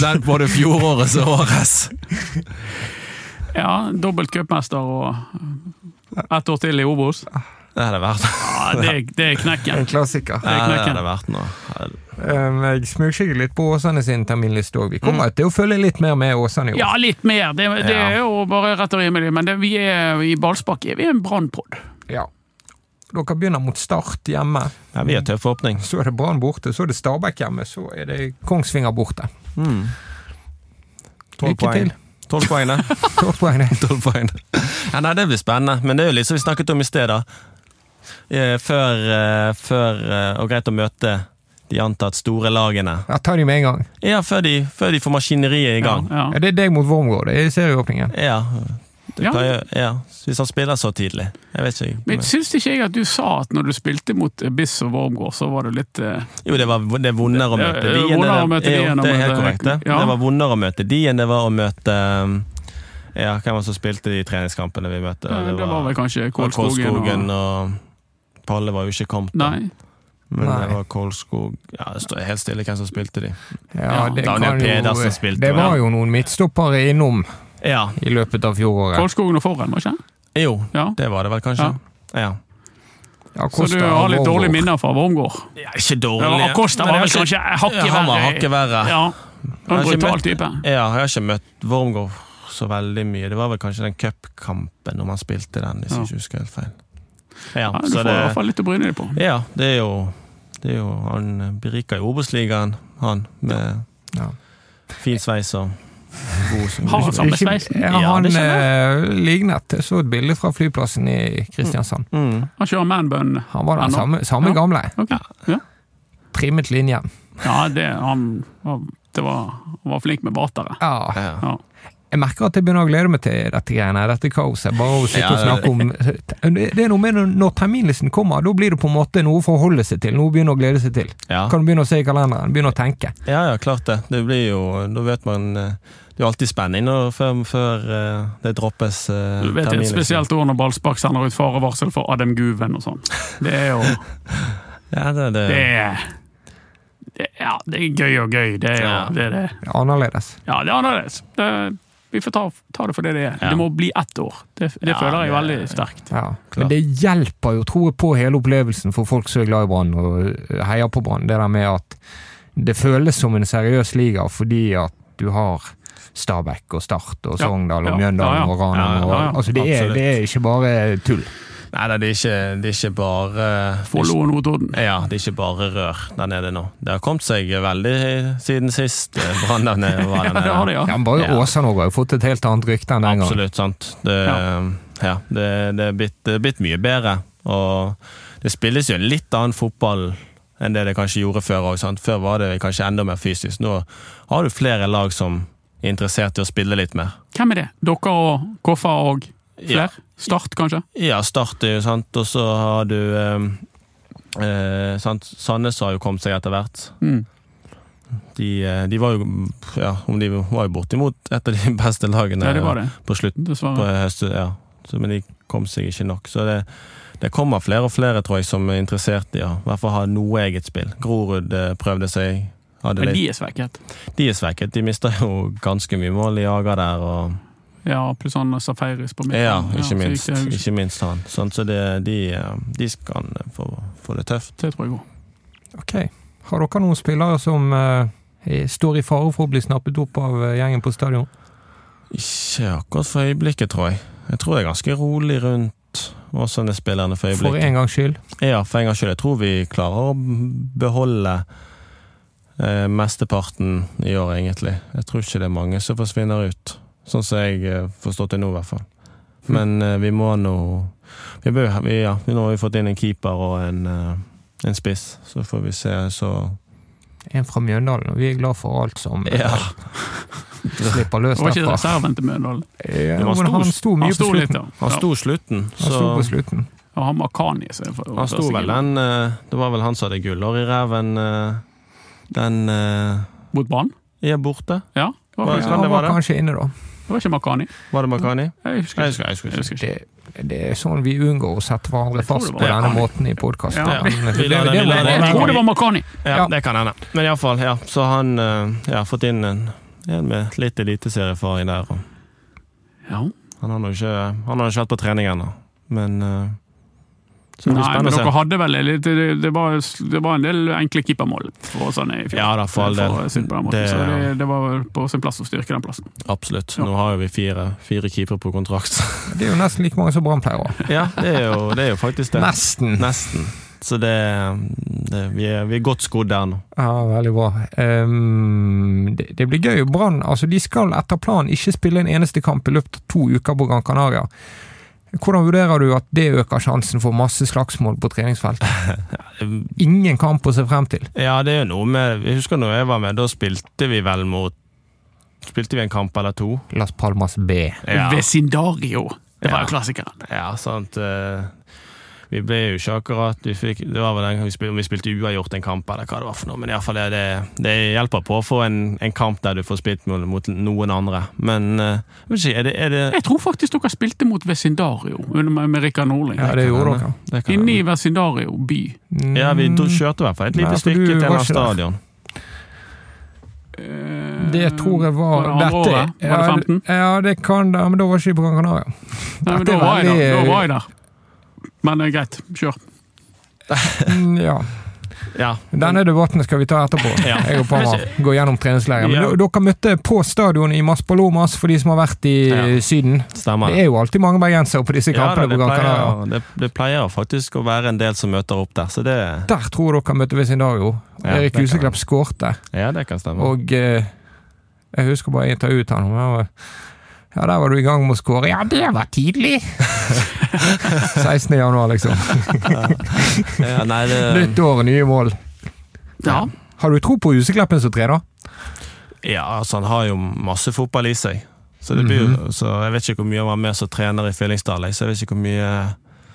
Speaker 4: Den både fjorårets og årets.
Speaker 3: Ja, dobbelt cupmester og ett år til i Obos.
Speaker 4: Det hadde vært
Speaker 3: Ja, det, det er knekken.
Speaker 2: klassiker.
Speaker 4: Nei, det
Speaker 3: knekken.
Speaker 4: hadde vært noe.
Speaker 2: Ehm, Jeg smugkikker litt på Åsane sin terminliste òg. Vi kommer til å følge litt mer med Åsane i år.
Speaker 3: Ja, litt mer. Det, det
Speaker 4: Ja.
Speaker 3: er jo bare rett og rimelig. Men det, vi er i Ballspark er vi en brannpod.
Speaker 2: Ja. Dere begynner mot Start hjemme,
Speaker 4: Ja, vi har tøff åpning.
Speaker 2: så er det Brann borte, så er det Stabæk hjemme, så er det Kongsvinger borte.
Speaker 4: Mm.
Speaker 2: Lykke til.
Speaker 4: Tolv poeng, det.
Speaker 2: Tolv poeng, det.
Speaker 4: Tolv poeng. Ja, nei, det blir spennende. Men det er jo litt som vi snakket om i sted, da. Eh, Før, eh, før eh, Og greit å møte de antatt store lagene.
Speaker 2: Ja, ta de med en gang.
Speaker 4: Ja, før de, før de får maskineriet i gang.
Speaker 3: Ja,
Speaker 2: Ja, det er deg mot Wormgård i serieåpningen.
Speaker 4: Ja. Det
Speaker 3: Ja.
Speaker 4: kan jo, ja. Hvis han spiller så tidlig. Jeg vet ikke.
Speaker 3: Men
Speaker 4: Men,
Speaker 3: syns ikke jeg at du sa at når du spilte mot Biss og Wormgård, så var det litt eh,
Speaker 4: jo, det var det er vondere å møte
Speaker 3: Det er
Speaker 4: de enn
Speaker 3: vondere
Speaker 4: det-
Speaker 3: å møte de
Speaker 4: jo,
Speaker 3: enn å
Speaker 4: Det er helt
Speaker 3: møte-
Speaker 4: korrekt, det.
Speaker 3: ja.
Speaker 4: Det var vondere å møte de enn det var å møte um, Ja, hvem var det som spilte de treningskampene vi møtte? da?
Speaker 3: eh, Det var vel kanskje Kålskogen
Speaker 4: Kolskogen
Speaker 3: og
Speaker 4: og Palle var jo ikke kommet. da.
Speaker 3: Nei.
Speaker 4: Men
Speaker 2: Nei.
Speaker 4: det var Kolskog Ja, det står helt stille hvem som spilte de.
Speaker 2: Ja,
Speaker 3: Ja,
Speaker 2: det, kan
Speaker 4: Daniel Pedersen
Speaker 2: jo,
Speaker 4: spilte,
Speaker 2: det var
Speaker 4: ja.
Speaker 2: jo noen midtstoppere innom
Speaker 4: Ja,
Speaker 2: i løpet av fjoråret.
Speaker 3: Kålskogen og Forhen, var ikke det?
Speaker 4: jo,
Speaker 3: Ja.
Speaker 4: det var det vel kanskje. Ja.
Speaker 2: Ja,
Speaker 3: Så
Speaker 2: Costa
Speaker 3: du har litt
Speaker 2: Wormgård.
Speaker 3: dårlige minner fra Wormgård?
Speaker 4: Ja, ikke dårlig.
Speaker 3: Ja, Acosta
Speaker 4: Men
Speaker 3: var
Speaker 4: jeg
Speaker 3: vel
Speaker 4: har ikke-
Speaker 3: kanskje hakket
Speaker 4: Ja, Han var hakket
Speaker 3: verre.
Speaker 4: verre. Ja.
Speaker 3: Ja,
Speaker 4: har
Speaker 3: en
Speaker 4: ikke
Speaker 3: brutal
Speaker 4: møtt-
Speaker 3: type.
Speaker 4: jeg har ikke møtt Wormgård så veldig mye. Det var vel kanskje den cupkampen om han spilte den, hvis
Speaker 3: Ja.
Speaker 4: jeg ikke husker helt feil. Ja,
Speaker 3: Ja, du
Speaker 4: så
Speaker 3: får i hvert
Speaker 4: det,
Speaker 3: fall litt å bryne deg på.
Speaker 4: ja, det er jo det er jo, Han eh, beriker jo Obos-ligaen, han, med
Speaker 2: Ja.
Speaker 4: fin sveis og god
Speaker 3: Har han samme
Speaker 2: Ikke-
Speaker 3: sveisen?
Speaker 2: Ja,
Speaker 4: Ja,
Speaker 2: han
Speaker 4: det
Speaker 2: eh, lignet Jeg så et bilde fra flyplassen i Kristiansand.
Speaker 4: Mm.
Speaker 3: Han kjører manbun.
Speaker 2: Han var den
Speaker 3: Ja, nå.
Speaker 2: samme, samme
Speaker 3: Ja.
Speaker 2: gamle.
Speaker 3: Ok. Ja.
Speaker 2: Trimmet linje.
Speaker 3: ja, det han var, det var, han var flink med batere.
Speaker 2: Ja.
Speaker 4: Ja.
Speaker 3: Ja.
Speaker 2: Jeg merker at jeg begynner å glede meg til dette greiene, dette kaoset. Bare å sitte
Speaker 4: Ja,
Speaker 2: og snakke om Det er noe med når- når terminlisten kommer, da blir det på en måte noe for å forholde seg til. Noe å begynne å glede seg til.
Speaker 4: Ja.
Speaker 2: Kan du begynne å se i kalenderen, begynne å tenke.
Speaker 4: Ja, ja, klart det. Det blir jo Da vet man eh, Det er jo alltid spenning nå før, før eh, det droppes eh,
Speaker 3: Du vet det er et
Speaker 4: terminlisten.
Speaker 3: spesielt år når Ballspark sender ut farevarsel for Adam Guven og sånn. Det er jo
Speaker 4: Ja, det, er det.
Speaker 3: det er, det, Ja, det er gøy og gøy. Det er jo
Speaker 4: Ja.
Speaker 3: det. Er det.
Speaker 2: Annerledes.
Speaker 3: Ja, det er annerledes. Det, vi får ta, ta det for det det er.
Speaker 4: Ja.
Speaker 3: Det må bli ett år. Det, det
Speaker 4: Ja,
Speaker 3: føler jeg
Speaker 4: det-
Speaker 3: veldig sterkt.
Speaker 2: Ja. Men
Speaker 4: Klart.
Speaker 2: det hjelper jo, tror jeg, på hele opplevelsen for folk som er glad i Brann og eh, heier på Brann. Det der med at det føles som en seriøs liga fordi at du har Stabæk og Start og
Speaker 3: Ja.
Speaker 2: Sogndal og
Speaker 3: Ja, ja,
Speaker 2: Mjøndalen
Speaker 3: ja.
Speaker 2: og Ranheim.
Speaker 4: Ja,
Speaker 3: ja, ja.
Speaker 2: og- Altså, det er,
Speaker 4: Absolutt.
Speaker 2: det er ikke bare tull.
Speaker 4: Nei, nei, det er ikke, det er ikke bare
Speaker 3: Follo og Notodden.
Speaker 4: Ja, det er ikke bare rør der nede nå. Det har kommet seg veldig siden sist eh, brann der nede var
Speaker 3: Ja,
Speaker 4: der
Speaker 3: det har
Speaker 4: nede.
Speaker 3: de, ja.
Speaker 2: Ja, men bare
Speaker 4: Ja.
Speaker 2: Åsane har jo fått et helt annet rykte enn den gangen.
Speaker 4: Absolutt, sant. Det, ja. det, det er blitt, det er blitt mye bedre. Og det spilles jo en litt annen fotball enn det det kanskje gjorde før også, sant? Før var det kanskje enda mer fysisk. Nå har du flere lag som er interessert i å spille litt mer.
Speaker 3: Hvem er det? Dere og Koffa og
Speaker 4: Ja.
Speaker 3: flere? Start, kanskje?
Speaker 4: Ja, Start er jo sant, og så har du eh, eh, sant? Sandnes har jo kommet seg etter hvert.
Speaker 3: Mm.
Speaker 4: De, eh, de var jo ja, om de var jo bortimot et av de beste lagene
Speaker 3: Ja, det var det.
Speaker 4: på slutten. på
Speaker 3: Dessverre.
Speaker 4: høsten, ja. Så, men de kom seg ikke nok. Så det, det kommer flere og flere, tror jeg, som er interessert i å i hvert fall ha noe eget spill. Grorud eh, prøvde seg. Hadde
Speaker 3: Men
Speaker 4: litt.
Speaker 3: de er svekket.
Speaker 4: De er svekket. De mista jo ganske mye mål i Aga der. Og,
Speaker 3: Ja, pluss han Safaris på midten.
Speaker 4: ja, ikke
Speaker 3: så gikk
Speaker 4: minst.
Speaker 3: det-
Speaker 4: Ikke minst han. Sånn, så det, de, eh, de kan få, få det tøft.
Speaker 3: Det tror jeg òg.
Speaker 2: Ok. Har dere noen spillere som eh, er- står i fare for å bli snappet opp av eh, gjengen på stadion?
Speaker 4: Ikke akkurat for øyeblikket, tror jeg. Jeg tror det er ganske rolig rundt Åsane-spillerne for
Speaker 2: For
Speaker 4: øyeblikket.
Speaker 2: en gangs skyld.
Speaker 4: Ja, for en gangs skyld. Jeg tror vi klarer å beholde eh, mesteparten i år, egentlig. Jeg tror ikke det er mange som forsvinner ut, sånn som jeg eh, forstått det nå, i hvert fall.
Speaker 2: Hm.
Speaker 4: Men eh, vi må nå vi bør, vi, ja, Nå har vi fått inn en keeper og en, eh, en spiss, så får vi se. Så
Speaker 2: en fra Mjøndalen, og vi er glad for alt som
Speaker 4: Ja.
Speaker 2: slipper løs
Speaker 3: Det var ikke
Speaker 2: derfra.
Speaker 3: reserven til Mjøndalen.
Speaker 2: Ja,
Speaker 4: Men han
Speaker 2: men
Speaker 4: sto-
Speaker 2: han sto mye
Speaker 3: Han sto
Speaker 2: på
Speaker 3: litt,
Speaker 2: slutten.
Speaker 3: ja.
Speaker 4: Han
Speaker 3: ja.
Speaker 4: sto slutten,
Speaker 2: Han sto
Speaker 4: så
Speaker 2: på slutten.
Speaker 3: Og han Makani. som er for-
Speaker 4: Han sto
Speaker 3: første
Speaker 4: vel
Speaker 3: keeper.
Speaker 4: den eh, Det var vel han som hadde gullår i ræven eh, den eh,
Speaker 3: Mot Brann.
Speaker 4: Ja, borte.
Speaker 3: Ja, det var,
Speaker 4: Hva-
Speaker 2: Ja,
Speaker 3: faktisk,
Speaker 4: kan
Speaker 2: han
Speaker 4: det
Speaker 2: var
Speaker 4: være?
Speaker 2: kanskje inne, da.
Speaker 3: det var ikke Makani.
Speaker 4: Var det Makani?
Speaker 3: Jeg husker
Speaker 4: Jeg
Speaker 3: ikke.
Speaker 4: husker, jeg husker
Speaker 3: Jeg
Speaker 4: ikke.
Speaker 3: husker ikke.
Speaker 2: Det, det er sånn vi unngår å sette hverandre
Speaker 3: tror
Speaker 2: fast
Speaker 3: det
Speaker 2: på
Speaker 3: var-
Speaker 2: denne
Speaker 4: Ja.
Speaker 2: måten i podkasten.
Speaker 3: Ja.
Speaker 4: Vi lar det- vi lar
Speaker 3: Jeg tror det var Makani.
Speaker 4: Ja,
Speaker 2: Ja.
Speaker 4: det kan hende. Men iallfall, ja. Så han eh, ja, fått inn en, en med litt eliteserieerfaring der. Og
Speaker 3: Ja.
Speaker 4: han har nå ikke, han har ikke vært på trening ennå, men eh, Så det blir
Speaker 3: Nei, men
Speaker 4: spennende
Speaker 3: dere
Speaker 4: å se.
Speaker 3: hadde vel litt, det, det, var, det var en del enkle keepermål for sånn i fjor.
Speaker 4: Ja da, for all del.
Speaker 3: å sitte på den måten.
Speaker 4: Det-
Speaker 3: så det, det var på sin plass å styrke den plassen.
Speaker 4: Absolutt.
Speaker 3: Ja.
Speaker 4: Nå har jo vi fire, fire keepere på kontrakt.
Speaker 2: Det er jo nesten like mange som Brann-pleiere.
Speaker 4: ja, det er, jo, det er jo faktisk det.
Speaker 2: Nesten.
Speaker 4: Nesten. Så det, det vi, er, vi er godt skodd der nå.
Speaker 2: Ja, veldig bra. Ehm, det, det blir gøy. Brann altså, de skal etter planen ikke spille en eneste kamp i løpet av to uker på Gran Canaria. Hvordan vurderer du at det øker sjansen for masse slagsmål på treningsfeltet? Ingen kamp å se frem til.
Speaker 4: Ja, det er jo noe med Jeg husker når jeg var med, da spilte vi vel mot Spilte vi en kamp eller to?
Speaker 2: Las Palmas B.
Speaker 4: Ja,
Speaker 3: Vesindario. Det var
Speaker 4: Ja.
Speaker 3: jo klassikeren.
Speaker 4: ja sant. eh, Vi ble jo ikke akkurat vi fikk, Det var vel den gang vi spilte, om vi spilte uavgjort en kamp, eller hva det var for noe. Men iallfall det, det, det hjelper på å få en, en kamp der du får spilt mot, mot noen andre. Men eh, jeg vet ikke, er det, er det
Speaker 3: Jeg tror faktisk dere spilte mot Vesindario under- med med Rikard Nordling.
Speaker 2: Ja, det gjorde dere.
Speaker 4: det kan
Speaker 3: Inne
Speaker 4: være.
Speaker 3: i Vesindario by.
Speaker 4: Ja, vi
Speaker 2: Mm.
Speaker 4: dro- kjørte i hvert fall et
Speaker 2: Nei,
Speaker 4: lite
Speaker 2: for du
Speaker 4: stykke
Speaker 2: var
Speaker 4: til en
Speaker 2: ikke der.
Speaker 4: stadion.
Speaker 3: Eh,
Speaker 2: Det tror jeg var,
Speaker 3: var det andre
Speaker 2: dette.
Speaker 3: året? Var det 15?
Speaker 2: Ja, ja, det kan det, men da var ikke vi på Gran Canaria.
Speaker 3: Nei, men
Speaker 2: Dette
Speaker 3: da
Speaker 2: er
Speaker 3: var, jeg der.
Speaker 2: veldig-
Speaker 3: da var jeg der. Men eh, greit, kjør.
Speaker 2: Mm, Ja.
Speaker 4: Ja.
Speaker 2: Denne debatten skal vi ta etterpå.
Speaker 4: Ja.
Speaker 2: Jeg og Parma går gjennom treningsleiren. Men
Speaker 4: Ja.
Speaker 2: d- Dere møtte på stadion i Maspalomas, for de som har vært i
Speaker 4: Ja.
Speaker 2: Syden.
Speaker 4: Stemmer.
Speaker 2: Det er jo alltid mange bergensere på disse
Speaker 4: Ja,
Speaker 2: kampene
Speaker 4: det,
Speaker 2: på Gran Canaria.
Speaker 4: pleier, det, det pleier faktisk å være en del som møter opp der, så det
Speaker 2: Der tror jeg dere møtte Vesindario.
Speaker 4: Ja, det
Speaker 2: Erik
Speaker 4: kan
Speaker 2: Huseklepp skårte,
Speaker 4: Ja, det kan stemme.
Speaker 2: og eh, jeg husker bare intervjuet han. og han var- Ja, der var du i gang med å skåre. Ja, det var tidlig! 16. januar, liksom.
Speaker 4: ja, nei, det,
Speaker 2: Nytt år, nye mål.
Speaker 3: Ja.
Speaker 2: Har du tro på Husekleppen som trener?
Speaker 4: ja, altså han har jo masse fotball i seg. Så, det blir, jo- så jeg vet ikke hvor mye han var med som trener i Fyllingsdal. jeg, Så jeg vet ikke hvor mye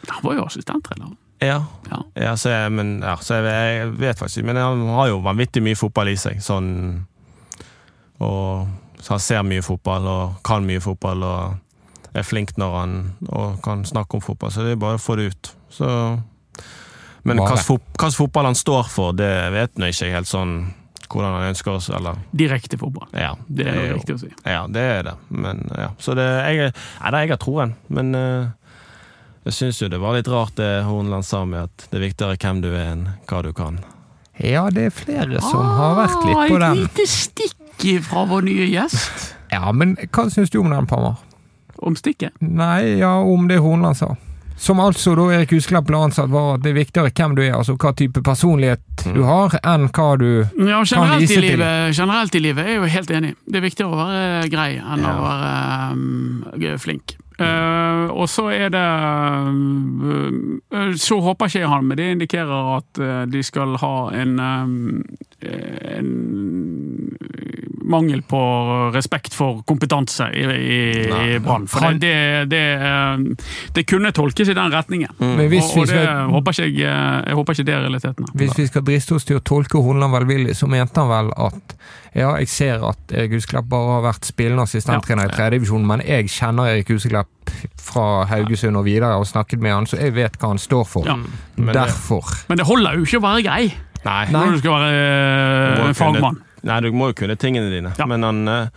Speaker 3: Han var jo assistenttrener.
Speaker 4: Ja,
Speaker 3: Ja.
Speaker 4: ja, så, jeg, men, ja, så jeg, jeg vet faktisk ikke. Men han har jo vanvittig mye fotball i seg. Sånn, og så han ser mye fotball og kan mye fotball og er flink når han og kan snakke om fotball. Så det er bare å få det ut. Så, men
Speaker 2: Bare.
Speaker 4: hvilken fot, hvilken fotball han står for, det vet nå ikke jeg helt sånn hvordan han ønsker oss, eller
Speaker 3: Direkte fotball.
Speaker 4: Ja,
Speaker 3: Det er jo
Speaker 4: jo-
Speaker 3: riktig å si.
Speaker 4: ja, det er det. Men, ja. Så det, jeg, nei, det er jeg har troen, men eh, jeg syns jo det var litt rart det Hornland sa med at det er viktigere hvem du er enn hva du kan.
Speaker 2: Ja, det er flere som har vært litt på
Speaker 3: Ah,
Speaker 2: den.
Speaker 3: Et lite stikk fra vår nye gjest.
Speaker 2: Ja, men hva syns du om den, Pammer?
Speaker 3: Om stikket?
Speaker 2: Nei, ja, om det Hornland sa. Som altså da Erik Husklepp ble ansatt, var at det er viktigere hvem du er, altså hva type personlighet du har, enn hva du
Speaker 3: Ja,
Speaker 2: Kan
Speaker 3: generelt
Speaker 2: vise
Speaker 3: i,
Speaker 2: til.
Speaker 3: livet, generelt i livet er jeg jo helt enig. Det er viktigere å være grei enn å være um, flink. Eh, og så er det eh, Så håper ikke jeg han, men det indikerer at eh, de skal ha en, eh, en mangel på respekt for kompetanse i, i, i Brann. For det, det, det, eh, det kunne tolkes i den retningen.
Speaker 2: Men hvis
Speaker 3: Mm. og,
Speaker 2: vi
Speaker 3: og det
Speaker 2: skal,
Speaker 3: håper ikke jeg, eh, jeg håper ikke det er realitetene.
Speaker 2: hvis vi skal driste oss til å tolke Hornland velvillig, så mente han vel at ja, jeg ser at Erik Husklepp bare har vært spillende assistenttrener i tredjedivisjon, men jeg kjenner Erik Husklepp fra Haugesund og videre og har snakket med han, så jeg vet hva han står for.
Speaker 3: Ja.
Speaker 4: Men det,
Speaker 2: Derfor.
Speaker 3: Men det holder jo ikke å være grei
Speaker 4: nei,
Speaker 3: når du skal være
Speaker 4: Du
Speaker 3: eh,
Speaker 4: må
Speaker 3: en fagmann.
Speaker 4: Kunne, nei, du må jo kunne tingene dine.
Speaker 3: Ja.
Speaker 4: Men han, eh,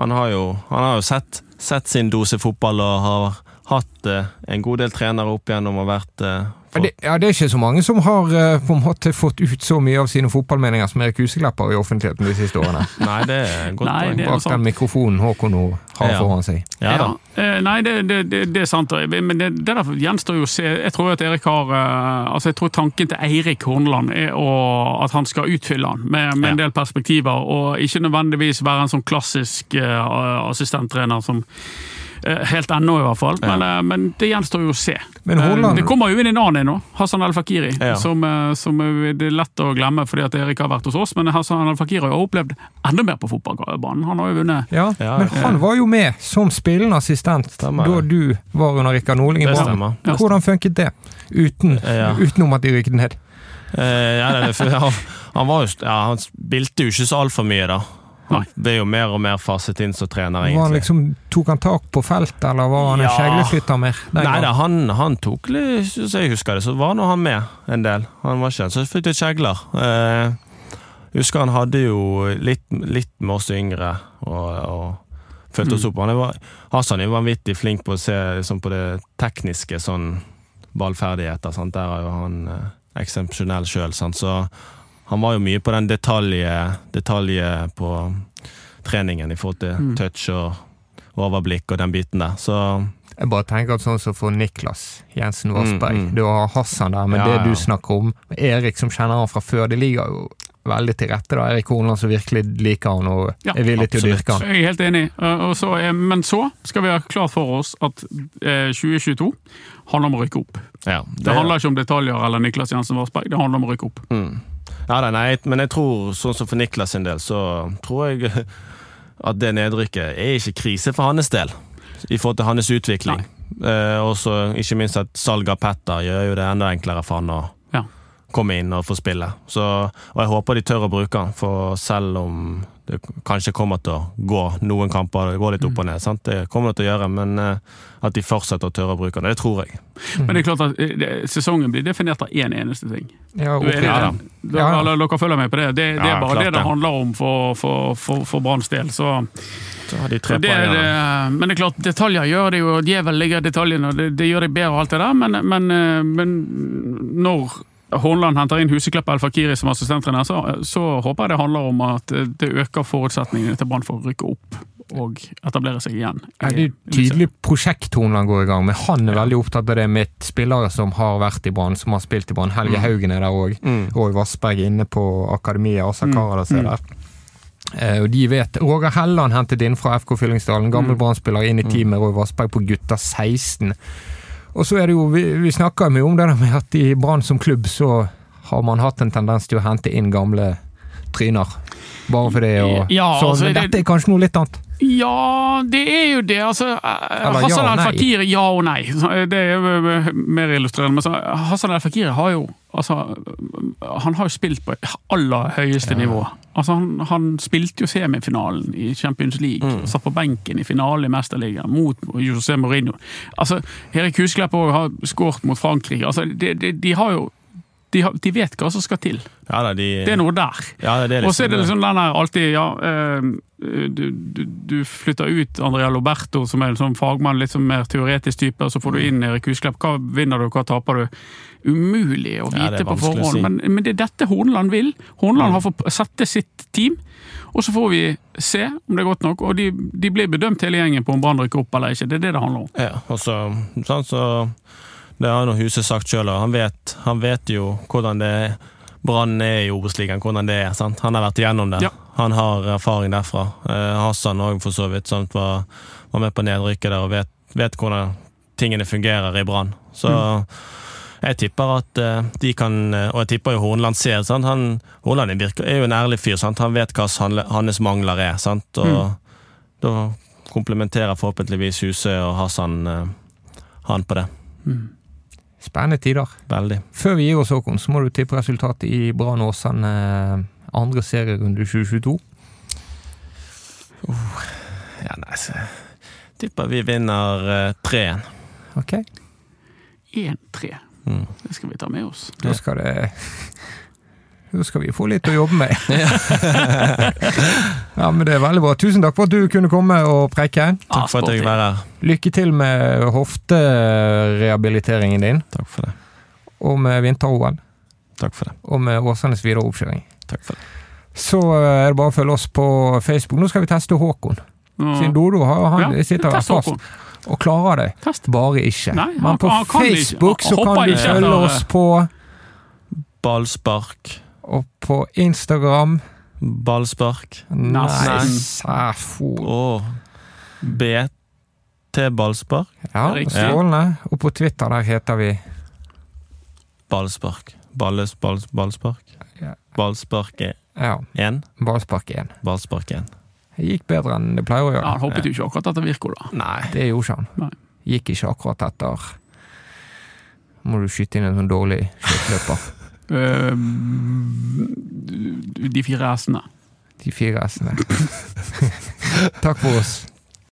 Speaker 4: han har jo, han har jo sett, sett sin dose fotball og har hatt eh, en god del trenere opp igjennom og vært eh,
Speaker 2: Ja,
Speaker 4: for,
Speaker 2: det, ja, det er ikke så mange som har eh, på en måte fått ut så mye av sine fotballmeninger som Erik Huseklepp har i offentligheten de siste årene.
Speaker 4: Nei, det er et godt
Speaker 3: Nei,
Speaker 4: poeng.
Speaker 3: det- er noe
Speaker 2: Bak
Speaker 3: sant.
Speaker 2: den mikrofonen Håkon nå har
Speaker 4: Ja.
Speaker 2: foran seg.
Speaker 4: Ja, da.
Speaker 3: Eh, Nei, det, det, det, det er sant, og jeg- men det, det der gjenstår jo å se. Jeg tror at Erik har eh, Altså, jeg tror tanken til Eirik Hornland er å, at han skal utfylle han med, med en del perspektiver, og ikke nødvendigvis være en sånn klassisk eh, assistenttrener som Eh, Helt ennå, i hvert fall.
Speaker 4: Ja.
Speaker 3: Men, eh, men det gjenstår jo å se.
Speaker 2: Men Haaland-
Speaker 3: Eh, Det kommer jo inn en annen en nå, Hassan Al-Fakiri,
Speaker 4: Ja.
Speaker 3: som, eh, som eh, det er lett å glemme fordi at Erik har vært hos oss, men Hassan Al-Fakiri har jo opplevd enda mer på fotballbanen. Han har jo vunnet
Speaker 2: Ja,
Speaker 4: Ja,
Speaker 2: men
Speaker 4: ja.
Speaker 2: han var jo med som spillende assistent
Speaker 4: Stemmer.
Speaker 2: da du var under Rikard Norling i
Speaker 4: Det
Speaker 2: Brann.
Speaker 4: stemmer.
Speaker 3: Ja.
Speaker 2: Hvordan funket det? Uten,
Speaker 4: Ja.
Speaker 2: Utenom at de rykket ned.
Speaker 4: Eh, ja, det, det- for han, han, var jo, ja, han spilte jo ikke så altfor mye, da. Han ble jo mer og mer faset inn som trener,
Speaker 2: Var han
Speaker 4: egentlig.
Speaker 2: liksom, tok han tak på feltet, eller var han en
Speaker 4: Ja.
Speaker 2: skjegleflytter mer? den
Speaker 4: Nei da,
Speaker 2: gangen?
Speaker 4: han, han tok litt Så jeg husker det, så var nå han med en del. Han var ikke en som fikk litt kjegler. Eh, husker han hadde jo litt, litt med oss yngre og, og fulgte oss opp. Han var, Hassan er jo vanvittig flink på å se liksom, på det tekniske, sånn ballferdigheter. Sant? Der er jo han eh, eksepsjonell sjøl, så han var jo mye på den detalje, detalje på treningen i forhold til touch og overblikk og den biten der. Så
Speaker 2: Jeg bare tenker at sånn som for Niklas Jensen Vassberg,
Speaker 4: Mm, mm.
Speaker 2: du har Hassan der, men
Speaker 4: Ja,
Speaker 2: det
Speaker 4: ja.
Speaker 2: du snakker om, Erik som kjenner han fra før, det ligger jo veldig til rette da. Erik Horneland som virkelig liker han og
Speaker 3: Ja,
Speaker 2: er villig til å
Speaker 4: absolutt.
Speaker 2: dyrke han.
Speaker 3: Jeg er helt enig. Eh, Og så, er- men så skal vi ha klart for oss at eh, 2022 handler om å rykke opp.
Speaker 4: ja.
Speaker 3: Det handler ikke om detaljer eller Niklas Jensen Varsberg, det handler om å rykke opp.
Speaker 4: Mm. Ja, da, nei, men jeg tror, sånn som for Niklas sin del, så tror jeg at det nedrykket er ikke krise for hans del, i forhold til hans utvikling. Eh, og så ikke minst at salget av Petter gjør jo det enda enklere for han å
Speaker 3: Ja.
Speaker 4: komme inn og få spille. Så, og jeg håper de tør å bruke han, for selv om det kanskje kommer til å gå noen kamper, det går litt
Speaker 3: Mm.
Speaker 4: opp og ned, sant? det kommer det til å gjøre, men eh, at de fortsetter å tørre å bruke han, det tror jeg.
Speaker 3: Men det er klart at eh, det- sesongen blir definert av én eneste ting.
Speaker 2: Ja,
Speaker 3: Du er enig i
Speaker 2: oppriktig.
Speaker 4: Ja,
Speaker 3: det? Dere,
Speaker 2: Ja, ja.
Speaker 3: alle dere følger med på det. Det, det
Speaker 4: Ja,
Speaker 3: er bare det
Speaker 4: klart
Speaker 3: det
Speaker 4: det.
Speaker 3: handler om for, for, for, for Branns del. Så
Speaker 4: Så har de tre
Speaker 3: det, er
Speaker 4: poeng, ja.
Speaker 3: det, men det er klart, detaljer gjør det jo. Djevel ligger i detaljene, og det, det gjør det bedre og alt det der, men, men, eh, men når Hornland henter inn Huseklepp Al-Fakiri som assistenttrener, så, så håper jeg det handler om at eh, det øker forutsetningene til Brann for å rykke opp og etablere seg igjen.
Speaker 2: Ja, det er jo tydelig prosjekt Hornland går i gang med. Han er veldig opptatt av det med spillere som har vært i Brann, som har spilt i Brann. Helge Haugen er der òg.
Speaker 4: Mm.
Speaker 2: Roy Vassberg inne på akademiet.
Speaker 3: Mm.
Speaker 2: Asa Karadas er der. Eh, Og de vet, Roger Helland hentet inn fra FK Fyllingsdalen.
Speaker 3: Mm.
Speaker 2: Gammel Brann-spiller inn i teamet Roy Vassberg på gutta 16. Og så er det jo, Vi, vi snakker mye om det der med at i Brann som klubb så har man hatt en tendens til å hente inn gamle tryner. Bare for det. Og,
Speaker 3: Ja,
Speaker 2: så,
Speaker 3: altså,
Speaker 2: men
Speaker 3: det-
Speaker 2: dette er kanskje noe litt annet.
Speaker 3: Ja, det er jo det. Altså, eh, Hassan
Speaker 2: ja og nei.
Speaker 3: al-Fakir, ja og nei. Så, eh, Det er jo eh, mer illustrerende. Men så, eh, Hassan al-Fakir har jo altså, Han har jo spilt på aller høyeste nivå. Altså, han, han spilte jo semifinalen i Champions League.
Speaker 2: Mm.
Speaker 3: og Satt på benken i finalen i Mesterligaen mot José Mourinho. Altså, Erik Husklepp også har skåret mot Frankrike. Altså, de, de, de har jo de, har, de vet hva som skal til.
Speaker 4: Ja, da, de,
Speaker 3: Det er noe der.
Speaker 4: ja, det er
Speaker 3: Og så er det liksom den der alltid Ja, eh, du, du, du flytter ut Andrea Loberto, som er en sånn fagmann, litt sånn mer teoretisk type, og så får du inn Erik Husklepp. Hva vinner du, hva taper du? Umulig å
Speaker 4: Ja,
Speaker 3: vite
Speaker 4: det er
Speaker 3: på
Speaker 4: vanskelig å
Speaker 3: forhånd,
Speaker 4: si. Mm.
Speaker 3: men, men det er dette Horneland vil. Horneland har fått sette sitt team, og så får vi se om det er godt nok. Og de, de blir bedømt hele gjengen på om Brann rykker opp eller ikke. Det er det det handler om.
Speaker 4: Ja, og så, sant, så Det har jo Huset sagt sjøl, og han vet, han vet jo hvordan det er. Brann er i Obos-ligaen, hvordan det er. sant? Han har vært igjennom det.
Speaker 3: Ja.
Speaker 4: Han har erfaring derfra. Eh, Hassan òg, for så vidt. Sant? Var, var med på nedrykket der og vet, vet hvordan tingene fungerer i Brann. Så jeg tipper at eh, de kan Og jeg tipper jo Hornland ser. sant? Han, Hornland er virker, er jo en ærlig fyr. sant? Han vet hva hans- hans mangler er. sant? Og da komplementerer forhåpentligvis Huse og Hassan eh, han på det.
Speaker 2: Spennende tider.
Speaker 4: Veldig.
Speaker 2: Før vi gir oss, Håkon, så må du tippe resultatet i Brann Åsane eh, andre serierunde 2022.
Speaker 4: Ja, nei, så tipper vi vinner eh, 3-1.
Speaker 2: Ok?
Speaker 3: 1-3.
Speaker 4: Mm.
Speaker 3: Det skal vi ta med oss.
Speaker 2: Da skal det Da skal vi få litt å jobbe med. ja, men Det er veldig bra. Tusen takk for at du kunne komme og preike.
Speaker 4: Takk for at
Speaker 3: Ah,
Speaker 4: jeg fikk være her.
Speaker 2: Lykke til med hofterehabiliteringen din,
Speaker 4: Takk for det.
Speaker 2: og med vinter-OL,
Speaker 4: Takk for det.
Speaker 2: og med Åsanes videre oppkjøring.
Speaker 4: Takk for det.
Speaker 2: Så eh, er det bare å følge oss på Facebook. Nå skal vi teste Håkon. Siden Dodo har, han
Speaker 3: Mm. Ja,
Speaker 2: sitter
Speaker 3: test
Speaker 2: fast
Speaker 3: Håkon.
Speaker 2: og klarer det.
Speaker 3: Test.
Speaker 2: Bare ikke.
Speaker 3: Nei, han-
Speaker 2: Men på
Speaker 3: han kan ikke.
Speaker 2: Facebook
Speaker 3: Han
Speaker 2: så
Speaker 3: hopper
Speaker 2: kan du
Speaker 3: ikke
Speaker 2: følge
Speaker 3: etter-
Speaker 2: oss på
Speaker 4: Ballspark.
Speaker 2: Og på Instagram
Speaker 4: Ballspark.
Speaker 2: Nei,
Speaker 3: Nei.
Speaker 2: sæfo
Speaker 4: Og B Til Ballspark.
Speaker 2: Ja,
Speaker 3: Riktig.
Speaker 2: strålende. Og på Twitter der heter vi
Speaker 4: Ballspark. Balles, balls, ballspark.
Speaker 2: Ja.
Speaker 4: Ballspark er
Speaker 2: ja,
Speaker 4: én.
Speaker 2: Ballspark 1.
Speaker 4: Ballspark én.
Speaker 2: Det gikk bedre enn det pleier å
Speaker 3: Ja,
Speaker 2: gjøre.
Speaker 3: han hoppet jo ikke akkurat etter Virko, da.
Speaker 4: Nei.
Speaker 2: Det gjorde ikke han.
Speaker 3: Nei.
Speaker 2: Gikk ikke akkurat etter Må du skyte inn en sånn dårlig skøyteløper.
Speaker 3: Eh, de fire s-ene.
Speaker 2: De fire s-ene. Takk for oss.